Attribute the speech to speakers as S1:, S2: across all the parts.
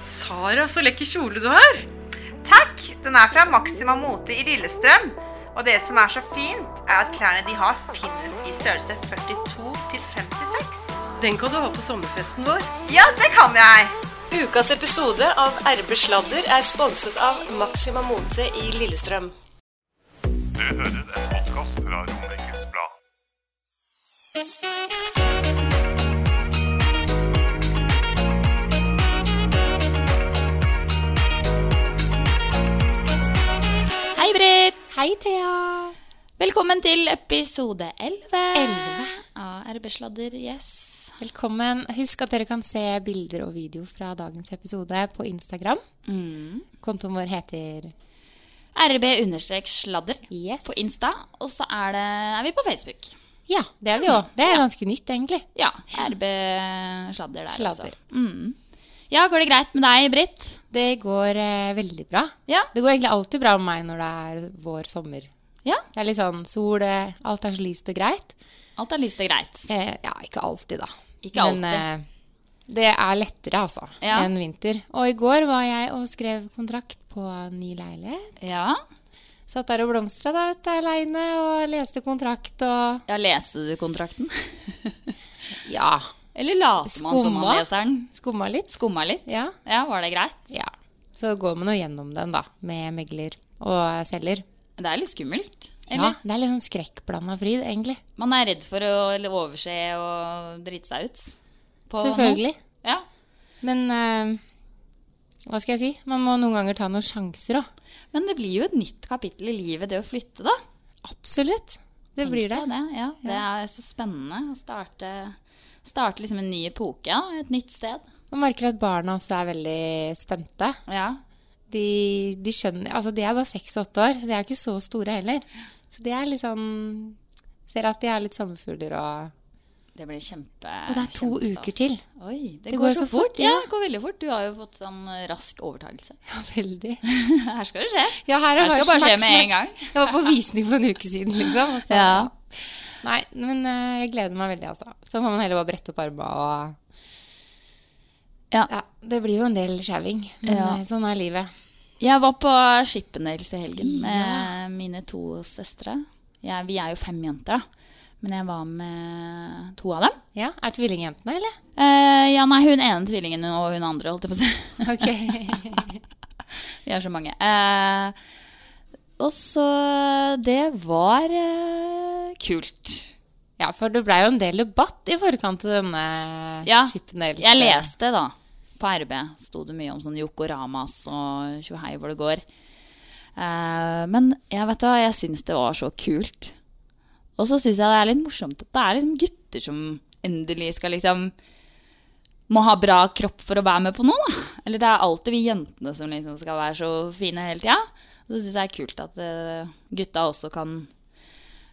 S1: Sara, så lekker kjole du har.
S2: Takk! Den er fra Maxima Mote i Lillestrøm. Og det som er så fint, er at klærne de har, finnes i størrelse 42 til 56.
S1: Den kan du ha på sommerfesten vår.
S2: Ja, det kan jeg!
S3: Ukas episode av RB Sladder er sponset av Maxima Mote i Lillestrøm.
S4: Du hører en podkast fra Romerikes Blad.
S5: Hei, Britt!
S3: Hei, Thea.
S5: Velkommen til episode 11. 11. Av RB-sladder, yes.
S3: Velkommen. Husk at dere kan se bilder og video fra dagens episode på Instagram.
S5: Mm.
S3: Kontoen vår heter
S5: RB-sladder
S3: Yes.
S5: på Insta. Og så er, det, er vi på Facebook.
S3: Ja, det er vi òg. Det er ganske nytt, egentlig.
S5: Ja, RB-sladder der
S3: Sladder.
S5: også. Mm. Ja, går det greit med deg, Britt?
S3: Det går eh, veldig bra.
S5: Ja.
S3: Det går egentlig alltid bra med meg når det er vår sommer.
S5: Ja,
S3: Det er litt sånn sol, eh, alt er så lyst og greit.
S5: alt er lyst og greit.
S3: Eh, ja, ikke alltid, da.
S5: Ikke alltid.
S3: Men eh, det er lettere, altså,
S5: Ja.
S3: enn vinter. Og i går var jeg og skrev kontrakt på ny leilighet.
S5: Ja.
S3: Satt der og blomstra da, vet du, aleine og leste kontrakt og
S5: ja, leste du kontrakten?
S3: Ja.
S5: Eller later man som man
S3: Skumma.
S5: leser den?
S3: Skumma litt.
S5: Skumma litt?
S3: Ja.
S5: ja, var det greit?
S3: Ja. Så går man jo gjennom den, da, med megler og selger.
S5: Det er litt skummelt.
S3: Ja, det er litt sånn skrekkblanda fryd, egentlig.
S5: Man er redd for å overse og drite seg ut. på
S3: Selvfølgelig.
S5: noe. Ja.
S3: Men eh, hva skal jeg si? Man må noen ganger ta noen sjanser òg.
S5: Men det blir jo et nytt kapittel i livet, det å flytte, da.
S3: Absolutt. Det blir det.
S5: Tenk deg det. Ja, det er så spennende å starte, starte liksom en ny epoke. Ja. Et nytt sted.
S3: Man merker at barna også er veldig spente.
S5: Ja.
S3: De, de skjønner Altså, de er bare seks og åtte år, så de er ikke så store heller. Så de er litt sånn Ser at de er litt sommerfugler og
S5: Det blir kjempe...
S3: Og det er to
S5: kjempestas.
S3: uker til.
S5: Oi, det, går, så fort. ja.
S3: ja.
S5: det går veldig fort. Du har jo fått sånn rask overtakelse.
S3: Ja, veldig.
S5: Her skal det skje.
S3: Ja, her er
S5: Her skal
S3: bare
S5: bare skje
S3: smakk,
S5: med en
S3: smakk.
S5: gang.
S3: Jeg var på visning for en uke siden, liksom. og så-
S5: Ja.
S3: Nei, men eh, jeg gleder meg veldig, altså. Så må man heller bare brette opp arma og
S5: Ja.
S3: ja. Det blir jo en del skjæving, men
S5: Ja.
S3: eh, sånn er livet.
S5: Jeg var på Skippendales i helgen med mine to søstre. Jeg, vi er jo fem jenter, da. Men jeg var med to av dem.
S3: Ja, Er tvillingjentene, eller?
S5: Eh, ja, nei, hun ene tvillingen og hun andre, holdt jeg på å si.
S3: Ok.
S5: Vi er så mange. Eh, og så Det var eh, kult.
S3: ja, for det blei jo en del debatt i forkant til denne
S5: Ja,
S3: Chippendales.
S5: Jeg leste, da. På RB sto det mye om sånn Yokoramas og tjohei hvor det går. Eh, men jeg vet hva, jeg syns det var så kult. Og så syns jeg det er litt morsomt at det er liksom gutter som endelig skal liksom Må ha bra kropp for å være med på noe, da. Eller det er alltid vi jentene som liksom skal være så fine hele tida. Og så syns jeg det er kult at eh, gutta også kan,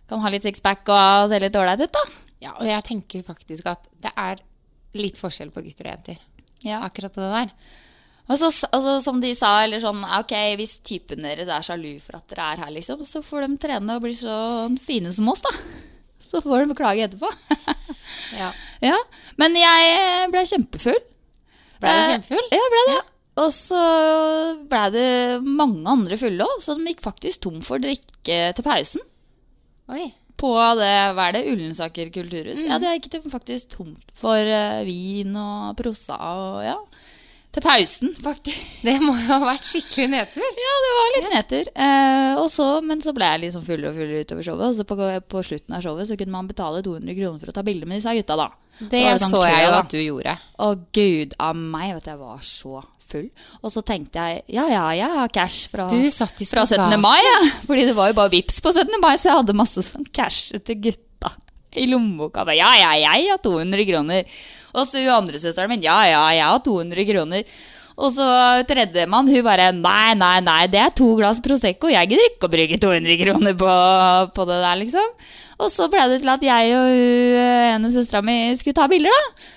S5: kan ha litt sixpack og se litt ålreit ut, da.
S3: Ja, og jeg tenker faktisk at det er litt forskjell på gutter og jenter.
S5: Ja.
S3: Akkurat på det der.
S5: Og så, og så som de sa, eller sånn, ok, hvis typen deres er sjalu for at dere er her, liksom, så får de trene og bli så fine som oss, da. Så får de beklage etterpå.
S3: Ja.
S5: ja. Men jeg eh, ble kjempefull.
S3: Ble du
S5: Eh,
S3: kjempefull?
S5: Ja, ble det. Og så ble det mange andre fulle òg, så de gikk faktisk tom for drikke til pausen.
S3: Oi.
S5: På det, hva er det, Ullensaker kulturhus? Ja, det gikk de faktisk tomt for eh, vin og prosa og ja. Til pausen, faktisk.
S3: Det må jo ha vært skikkelig nedtur.
S5: Ja, det var litt nedtur. Eh, og så- men så ble jeg liksom fullere og fullere utover showet. Og så på, på slutten av showet så kunne man betale 200 kroner for å ta bilde med disse gutta, da.
S3: Det
S5: var
S3: så,
S5: sånn kø,
S3: jeg jo
S5: da.
S3: at du gjorde.
S5: Å, gud av meg. Vet du, jeg var så full. Og så tenkte jeg ja, ja, jeg har cash fra,
S3: Du satt i
S5: fra
S3: spagat.
S5: 17. mai. Ja. Fordi det var jo bare vips på 17. mai, så jeg hadde masse sånn cash til gutta. i lommeboka. Bare, ja, ja, jeg har 200 kroner. Og så hun andre søsteren min. Ja, ja, jeg har 200 kroner. Og så tredjemann, hun bare Nei, nei, nei, det er to glass Prosecco. Jeg gidder ikke å bruke 200 kroner på, på det der, liksom. Og så ble det til at jeg og hun eh, ene søstera mi skulle ta bilder, da.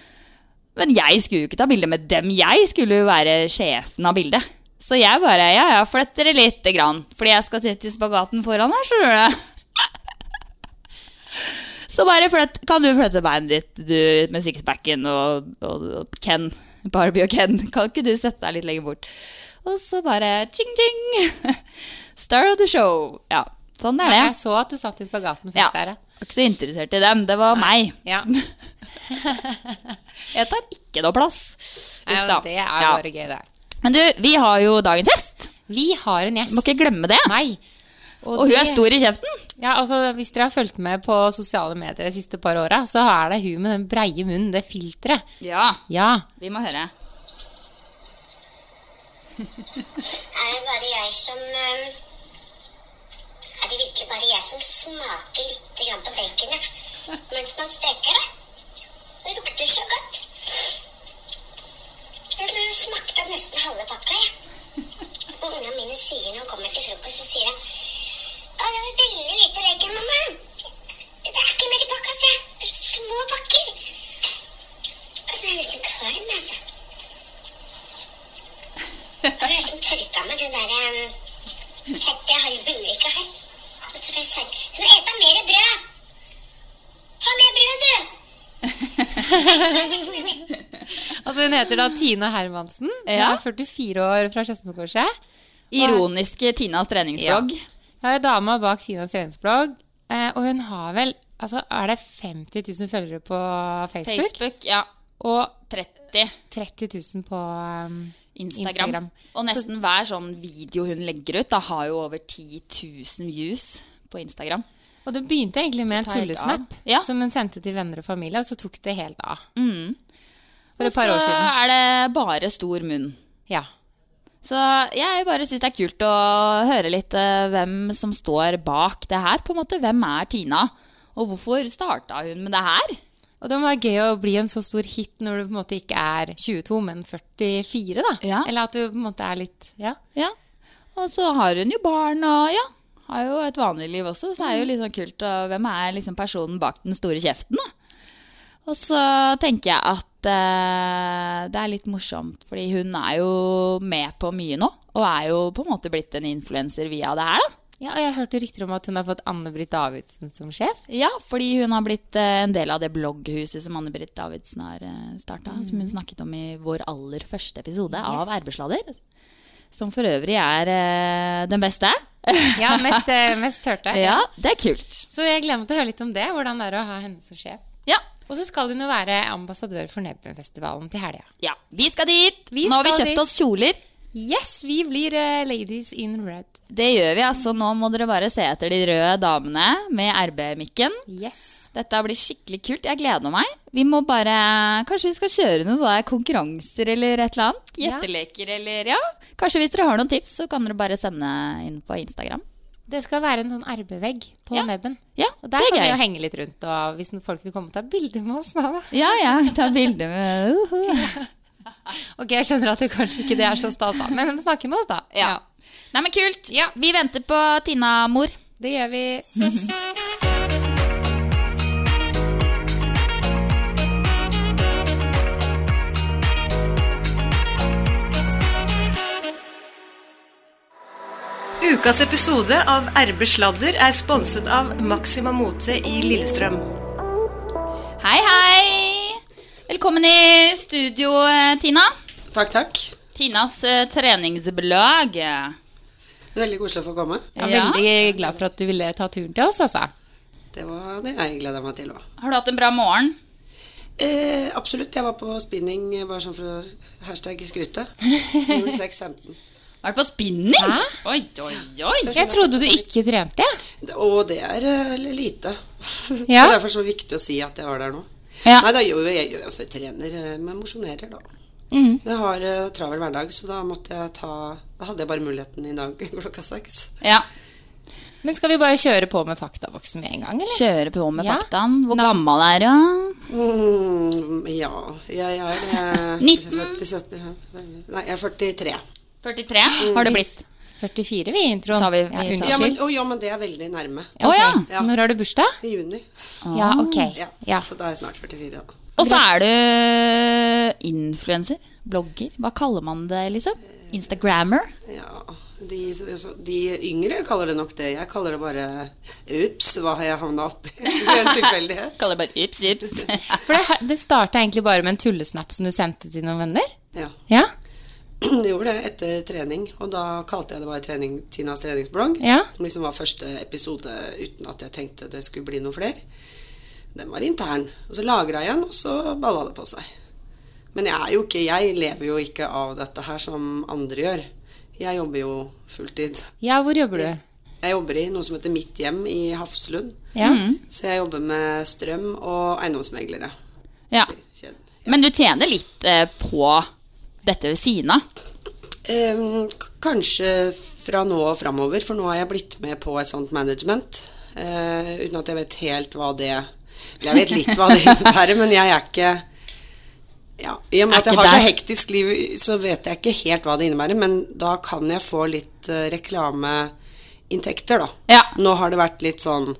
S5: Men jeg skulle jo ikke ta bilde med dem, jeg skulle jo være sjefen av bildet. Så jeg bare ja, ja, flytt dere lite grann, fordi jeg skal sitte i spagaten foran her, skjønner du. Så bare flytt, kan du flytte beinet ditt du, med sixpacken og, og, og Ken, Barbie og Ken, kan ikke du sette deg litt lenger bort? Og så bare ching-ching! Star of the show. Ja, sånn er det.
S3: Jeg så at du satt i spagaten
S5: Ja.
S3: først der. ja.
S5: Jeg var ikke så interessert i dem. Det var meg.
S3: Ja.
S5: Jeg tar ikke noe plass. Uff da.
S3: Ja, det er
S5: Ja.
S3: bare gøy, det.
S5: Men du, vi har jo dagens gjest.
S3: Vi har en gjest.
S5: Må ikke glemme det.
S3: Nei.
S5: Og hun
S3: det-
S5: er stor i kjeften.
S3: Ja, altså, hvis dere har fulgt med på sosiale medier de siste par åra, så er det hun med den breie munnen, det filteret.
S5: Ja,
S3: Ja.
S5: vi må høre.
S6: Er det bare jeg som eh, Er det virkelig bare jeg som smaker litt grann på baconet mens man steker det? Det lukter så godt. Jeg tror jeg smakte opp nesten halve pakka, jeg. Og ungene mine sier når de kommer til frokost, så sier de Å, det var veldig lite bacon, mamma. Det er ikke mer i pakka, sier jeg. Det er så Små pakker. Jeg er nesten kvalm, altså. Jeg har nesten tørka meg det der um, fettet jeg har i bunnrika her. Og så får jeg sarg. Du må ete mer brød! Ta mer brød, du!
S3: Altså, hun heter da Tine Hermansen. Hun
S5: Ja.
S3: er 44 år fra Skedsmokorset.
S5: Ironiske Tinas treningsblogg.
S3: Hun er dama bak Tinas treningsblogg. eh, Og hun har vel altså, Er det 50 000 følgere på Facebook?
S5: Facebook, ja.
S3: Og
S5: 30.
S3: 30 000 på um,
S5: Instagram.
S3: Instagram.
S5: Og nesten hver sånn video hun legger ut, da har jo over 10 000 views på Instagram.
S3: Og det begynte egentlig med en
S5: Det tar helt
S3: tullesnap
S5: av. Ja. Mm.
S3: som hun sendte til venner og familie, og så tok det helt av. For
S5: Og
S3: et
S5: så
S3: par år siden.
S5: er det bare stor munn.
S3: Ja.
S5: Så jeg bare syns det er kult å høre litt eh, hvem som står bak det her. På en måte, Hvem er Tina? Og hvorfor starta hun med det her?
S3: Og det må være gøy å bli en så stor hit når du på en måte ikke er 22, men 44, da.
S5: Ja.
S3: Eller at du på en måte er litt Ja.
S5: Ja. Og så har hun jo barn og ja, har jo et vanlig liv også. Så er det jo litt sånn kult og hvem er liksom personen bak den store kjeften, da. Og så tenker jeg at eh, det er litt morsomt, fordi hun er jo med på mye nå. Og er jo på en måte blitt en influenser via det her, da.
S3: Ja, og jeg hørte rykter om at hun har fått Anne-Britt Davidsen som sjef.
S5: Ja, fordi hun har blitt eh, en del av det blogghuset som Anne-Britt Davidsen har starta. Som
S3: Mm.
S5: hun snakket om i vår aller første episode av Arbeidslader. Som for øvrig er eh, den beste.
S3: Ja, mest, eh, mest hørte jeg.
S5: ja, det er kult.
S3: Så jeg gleder meg til å høre litt om det, hvordan det er å ha henne som sjef.
S5: Ja.
S3: Og så skal hun jo være ambassadør for Nebbenfestivalen til helga.
S5: ja. Vi skal dit!
S3: Vi
S5: Nå har vi
S3: skal
S5: kjøpt
S3: dit.
S5: oss kjoler.
S3: Yes, vi blir eh, Ladies in Red.
S5: Det gjør vi, altså. Nå må dere bare se etter de røde damene med RB-mikken.
S3: Yes.
S5: Dette blir skikkelig kult. Jeg gleder meg. Vi må bare, Kanskje vi skal kjøre noen sånne konkurranser eller et eller annet?
S3: Ja.
S5: Gjetteleker eller ja. Kanskje hvis dere har noen tips, så kan dere bare sende inn på Instagram.
S3: Det skal være en sånn arbevegg på
S5: Ja.
S3: Nebben.
S5: Ja,
S3: Og
S5: det
S3: der
S5: er
S3: kan vi
S5: gøy.
S3: jo henge litt rundt, og hvis noen folk vil komme og ta bilder med oss nå, da.
S5: Ja, ja. Ta bilde med uhu.
S3: Ok, jeg skjønner at det kanskje ikke det er så stas, da, men snakke med oss, da.
S5: Ja. Nei, men kult.
S3: Ja.
S5: Vi venter på Tina, mor.
S3: Det gjør vi.
S1: Ukas episode av RB Sladder er sponset av Maxima Mote i Lillestrøm.
S5: Hei, hei! Velkommen i studio, eh, Tina.
S7: Takk, takk.
S5: Tinas eh, treningsblogg.
S7: Veldig koselig å få komme.
S3: Jeg er veldig glad for at du ville ta turen til oss, altså.
S7: Det var det jeg gleda meg til òg.
S5: Har du hatt en bra morgen?
S7: Eh, absolutt. Jeg var på spinning eh, bare sånn for å hashtag skryte. 06.15.
S5: Har du på spinning?
S3: Hæ?
S5: Oi, oi, oi.
S3: Jeg trodde du ikke trente, jeg.
S7: Og det er eh, lite.
S3: Ja.
S7: Så derfor så var det viktig å si at jeg var der nå.
S5: Ja.
S7: Nei, da gjør jo jeg gjør jo også jeg trener, eh, men mosjonerer, da. Jeg har eh, travel hverdag, så da måtte jeg ta Da hadde jeg bare muligheten i dag klokka seks.
S5: Ja.
S3: Men skal vi bare kjøre på med faktaboksen med en gang, eller?
S5: Kjøre på med
S3: Ja.
S5: faktaen. Hvor gammel er du?
S7: Mm, ja, jeg er eh,
S5: 19.
S7: 47, Nei, jeg er Mm. 43.
S5: 43 har det
S3: Vi
S5: blitt.
S3: s- 44 vi i introen.
S5: Sa vi-
S3: ja,
S5: vi sa-
S3: unnskyld.
S7: Ja men, å, ja, men det er veldig nærme.
S3: Ja, ok. Når har du bursdag?
S7: I juni.
S3: Ja,
S5: Ah.
S3: ok.
S7: Ja, Så da er jeg snart 44, da.
S5: Og så er du influenser. Blogger. Hva kaller man det, liksom? Instagrammer.
S7: De, de yngre kaller det nok det. Jeg kaller det bare Ups, hva har jeg havna oppi? Ved en tilfeldighet.
S5: Kaller det bare Ups, ups.
S3: For det, det starta egentlig bare med en tullesnap som du sendte til noen venner.
S7: Ja.
S3: Ja?
S7: Jeg gjorde det etter trening, og da kalte jeg det bare trening, Tinas treningsblogg.
S3: Ja.
S7: Som liksom var første episode uten at jeg tenkte det skulle bli noe flere. Den var intern. Og så lagra jeg den, og så balla det på seg. Men jeg er jo ikke Jeg lever jo ikke av dette her som andre gjør. Jeg jobber jo fulltid.
S3: Ja, hvor jobber du?
S7: Jeg jobber i noe som heter Mitt hjem i Hafslund.
S3: Ja.
S5: Mm.
S3: Mhm.
S7: Så jeg jobber med strøm og eiendomsmeglere.
S5: Ja. Men du tjener litt eh, på dette ved siden av.
S7: Ehm, k- kanskje fra nå og framover, for nå har jeg blitt med på et sånt management. eh, uten at jeg vet helt hva det Eller jeg vet litt hva det innebærer, men jeg er ikke ja, I og med
S5: Er
S7: at jeg
S5: ikke
S7: har så
S5: der.
S7: hektisk liv, så vet jeg ikke helt hva det innebærer, men da kan jeg få litt eh, reklameinntekter, da. Nå har det vært litt sånn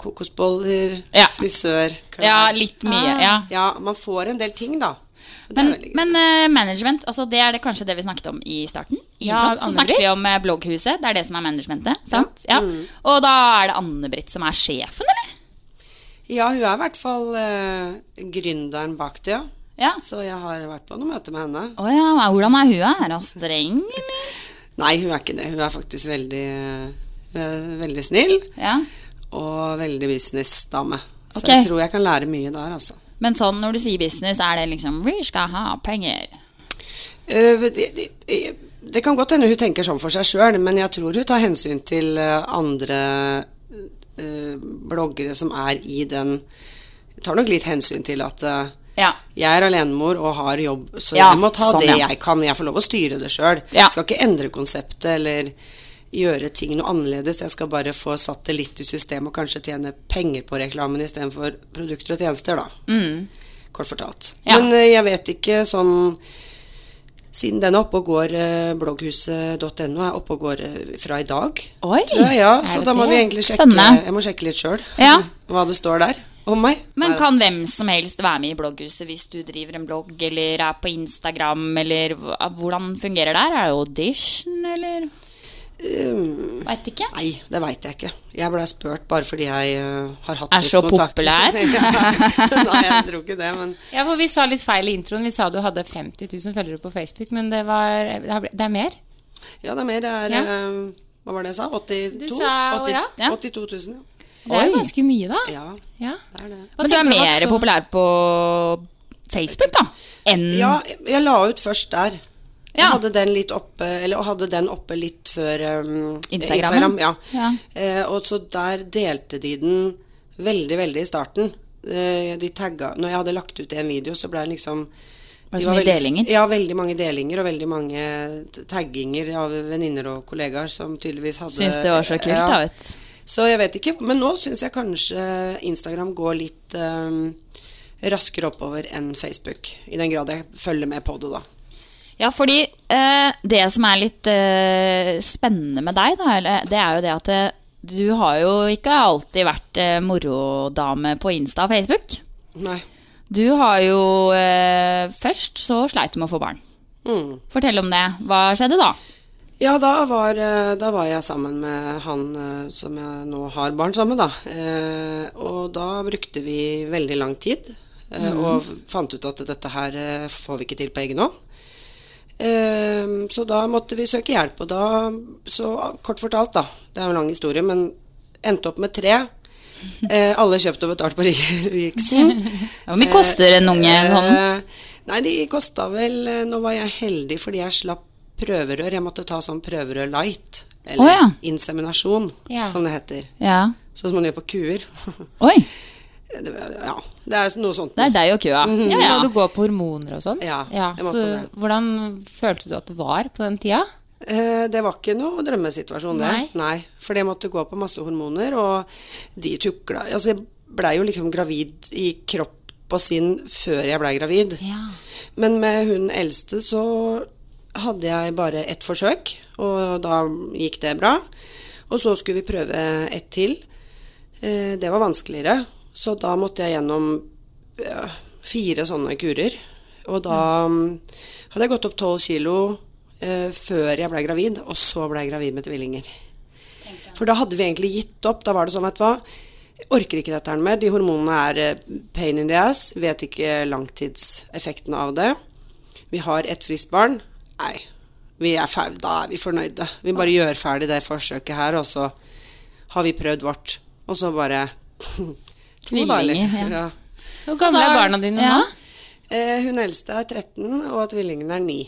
S7: kokosboller, frisør, klær
S5: Ja, litt mye, ja.
S7: ja, man får en del ting, da.
S5: Men, men eh, management, altså det er det kanskje det vi snakket om i starten. I
S3: Ja,
S5: introen, så snakket
S3: Anne-Britt.
S5: vi om eh, blogghuset. Det er det som er managementet. sant? Ja.
S7: Mm.
S5: Og da er det Anne-Britt som er sjefen, eller?
S7: Ja, hun er i hvert fall eh, gründeren bak det, ja. Så jeg har vært på noen møter med henne.
S5: Å ja, men hvordan er hun? Er hun streng?
S7: Nei, hun er ikke det. Hun er faktisk veldig, hun er veldig snill. Og veldig businessdame. Så
S5: Ok.
S7: jeg tror jeg kan lære mye der, altså.
S5: Men sånn når du sier business, er det liksom Vi skal ha penger.
S7: Eh, det, det, eh, det kan godt hende hun tenker sånn for seg sjøl, men jeg tror hun tar hensyn til eh, andre eh, bloggere som er i den Tar nok litt hensyn til at eh,
S5: Ja.
S7: Jeg er alenemor og har jobb, så
S5: Ja,
S7: jeg må ta
S5: sånn,
S7: det
S5: ja.
S7: jeg kan. Jeg får lov å styre det sjøl. Skal ikke endre konseptet eller gjøre ting noe annerledes. Jeg skal bare få satt det litt i systemet og kanskje tjene penger på reklamen istedenfor produkter og tjenester, da.
S5: Mm.
S7: Kort fortalt.
S5: Ja.
S7: Men eh, jeg vet ikke sånn siden den er oppe og går, eh, blogghuset.no er oppe og går eh, fra i dag.
S5: Oi,
S7: tror jeg, ja.
S5: er
S7: Så
S5: det
S7: da må
S5: det?
S7: vi egentlig sjekke eh,
S5: Spennende.
S7: Jeg må sjekke litt sjøl
S5: Ja.
S7: hva det står der om meg.
S5: Men
S7: Nei,
S5: kan hvem som helst være med i blogghuset hvis du driver en blogg eller er på Instagram, eller hva- hvordan fungerer det her? Er det audition, eller?
S7: Um,
S5: Veit ikke.
S7: Nei, det veit jeg ikke. Jeg blei spurt bare fordi jeg eh, har hatt
S5: Er
S7: litt
S5: så
S7: kontakt.
S5: populær.
S7: Ja. Nei, jeg tror ikke det, men
S3: Ja, for Vi sa litt feil i introen. Vi sa du hadde 50 000 følgere på Facebook, men det, var, det har blitt- det er mer.
S7: ja, det er mer. Det er
S3: Ja.
S7: eh, Hva var det jeg sa? 82?
S3: Du sa- å, ja.
S7: 82 000, ja.
S3: Det er jo ganske mye, da.
S7: Ja.
S3: Ja. Hva
S5: Men du er
S3: tenker om at
S5: mer
S3: så-
S5: populær på Facebook, da, enn
S7: Ja, jeg- jeg la ut først der. Jeg hadde den litt oppe, eller og hadde den oppe litt før um,
S5: Instagram?
S7: Instagram ja.
S5: Ja.
S7: Eh, og så der delte de den veldig, veldig i starten. Eh, de tagga Når jeg hadde lagt ut en video, så ble det liksom
S5: Var det
S7: de
S5: så mye
S7: veldig-
S5: delinger?
S7: Ja, veldig mange delinger og veldig mange t- tagginger av venninner og kollegaer som tydeligvis hadde
S5: Syns det var så kult,
S7: Eh, Ja.
S5: da, vet du.
S7: Så jeg vet ikke. Men nå syns jeg kanskje Instagram går litt um, raskere oppover enn Facebook. I den grad jeg følger med på det, da.
S5: Ja, fordi eh, det som er litt eh, spennende med deg, da, eller, det er jo det at eh, du har jo ikke alltid vært eh, morodame på Insta og Facebook.
S7: Nei.
S5: Du har jo eh, Først så sleit du med å få barn.
S7: Mm.
S5: Fortell om det. Hva skjedde da?
S7: Ja, da var, eh, da var jeg sammen med han eh, som jeg nå har barn sammen med, da. Eh, Og da brukte vi veldig lang tid, eh,
S8: Mhm.
S7: og f- fant ut at dette her eh, får vi ikke til på egen hånd. Eh, Så da måtte vi søke hjelp, og da Så ah, kort fortalt, da. Det er jo en lang historie, men endte opp med tre. Eh, alle kjøpt og betalt på Riksen.
S5: Hvor mye koster en unge sånn?
S7: Eh, Nei, de kosta vel eh, Nå var jeg heldig fordi jeg slapp prøverør. Jeg måtte ta sånn prøverør light. Eller
S5: Å, ja.
S7: inseminasjon,
S5: Ja.
S7: som det heter.
S5: Ja.
S7: Sånn som man gjør på kuer.
S5: Oi!
S7: Det, ja, det er noe sånt.
S5: Det er deg og kua.
S7: Mhm.
S5: Ja, ja.
S3: Må du gå på hormoner og sånn?
S7: Ja,
S3: Ja,
S7: jeg måtte
S3: så
S7: det.
S3: hvordan følte du at du var på den tida?
S7: Eh, Det var ikke noe drømmesituasjon, det.
S3: Nei.
S7: For det måtte gå på masse hormoner, og de tukla Altså, jeg blei jo liksom gravid i kropp og sinn før jeg blei gravid. Men med hun eldste så hadde jeg bare ett forsøk, og da gikk det bra. Og så skulle vi prøve ett til. Eh, Det var vanskeligere, så da måtte jeg gjennom ja, fire sånne kurer. Og da mm, hadde jeg gått opp tolv kilo eh, før jeg ble gravid, og så ble jeg gravid med tvillinger. For da hadde vi egentlig gitt opp. Da var det sånn, vet du hva jeg Orker ikke dette her mer. De hormonene er eh, pain in the ass. Vet ikke langtidseffekten av det. Vi har ett friskt barn. Nei, vi er ferdig. Da er vi fornøyde. Vi bare gjør ferdig det forsøket her, og så har vi prøvd vårt. Og så bare to dager.
S3: Tvillinger, ja.
S7: Ja.
S3: Hvor gamle
S7: Så da-
S3: er barna dine nå?
S7: Eh, hun eldste er 13, og tvillingene er 9.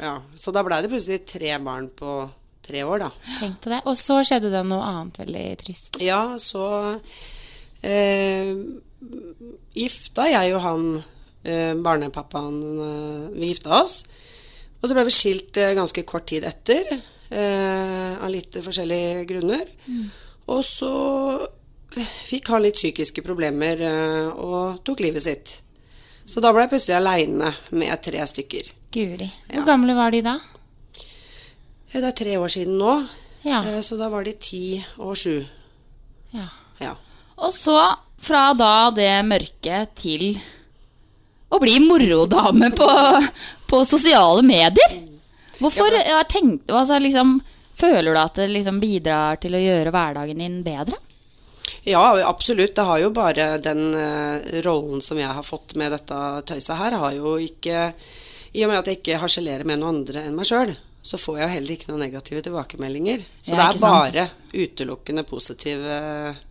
S3: Ja.
S7: så da ble det plutselig tre barn på tre år, da.
S3: Tenk på det. Og så skjedde det noe annet veldig trist.
S7: Ja, så eh, gifta jeg og han eh, barnepappaen eh, Vi gifta oss. Og så ble vi skilt eh, ganske kort tid etter, eh, av litt forskjellige grunner. Og så fikk han litt psykiske problemer eh, og tok livet sitt. Så da ble jeg plutselig aleine med tre stykker.
S3: Guri. Hvor
S7: Ja.
S3: gamle var de da?
S7: Eh, Det er tre år siden nå,
S3: Ja.
S7: eh, så da var de ti og sju.
S3: Ja.
S7: Ja.
S5: Og så fra da det mørke til å bli morodame på, på sosiale medier. Hvorfor jeg tenkte, altså, liksom, Føler du at det liksom bidrar til å gjøre hverdagen din bedre?
S7: Ja, absolutt. Det har jo bare den eh, rollen som jeg har fått med dette tøyset her, har jo ikke I og med at jeg ikke harselerer med noen andre enn meg sjøl, så får jeg jo heller ikke noen negative tilbakemeldinger.
S3: Ja,
S7: Så det
S3: ikke
S7: er
S3: sant?
S7: bare utelukkende positive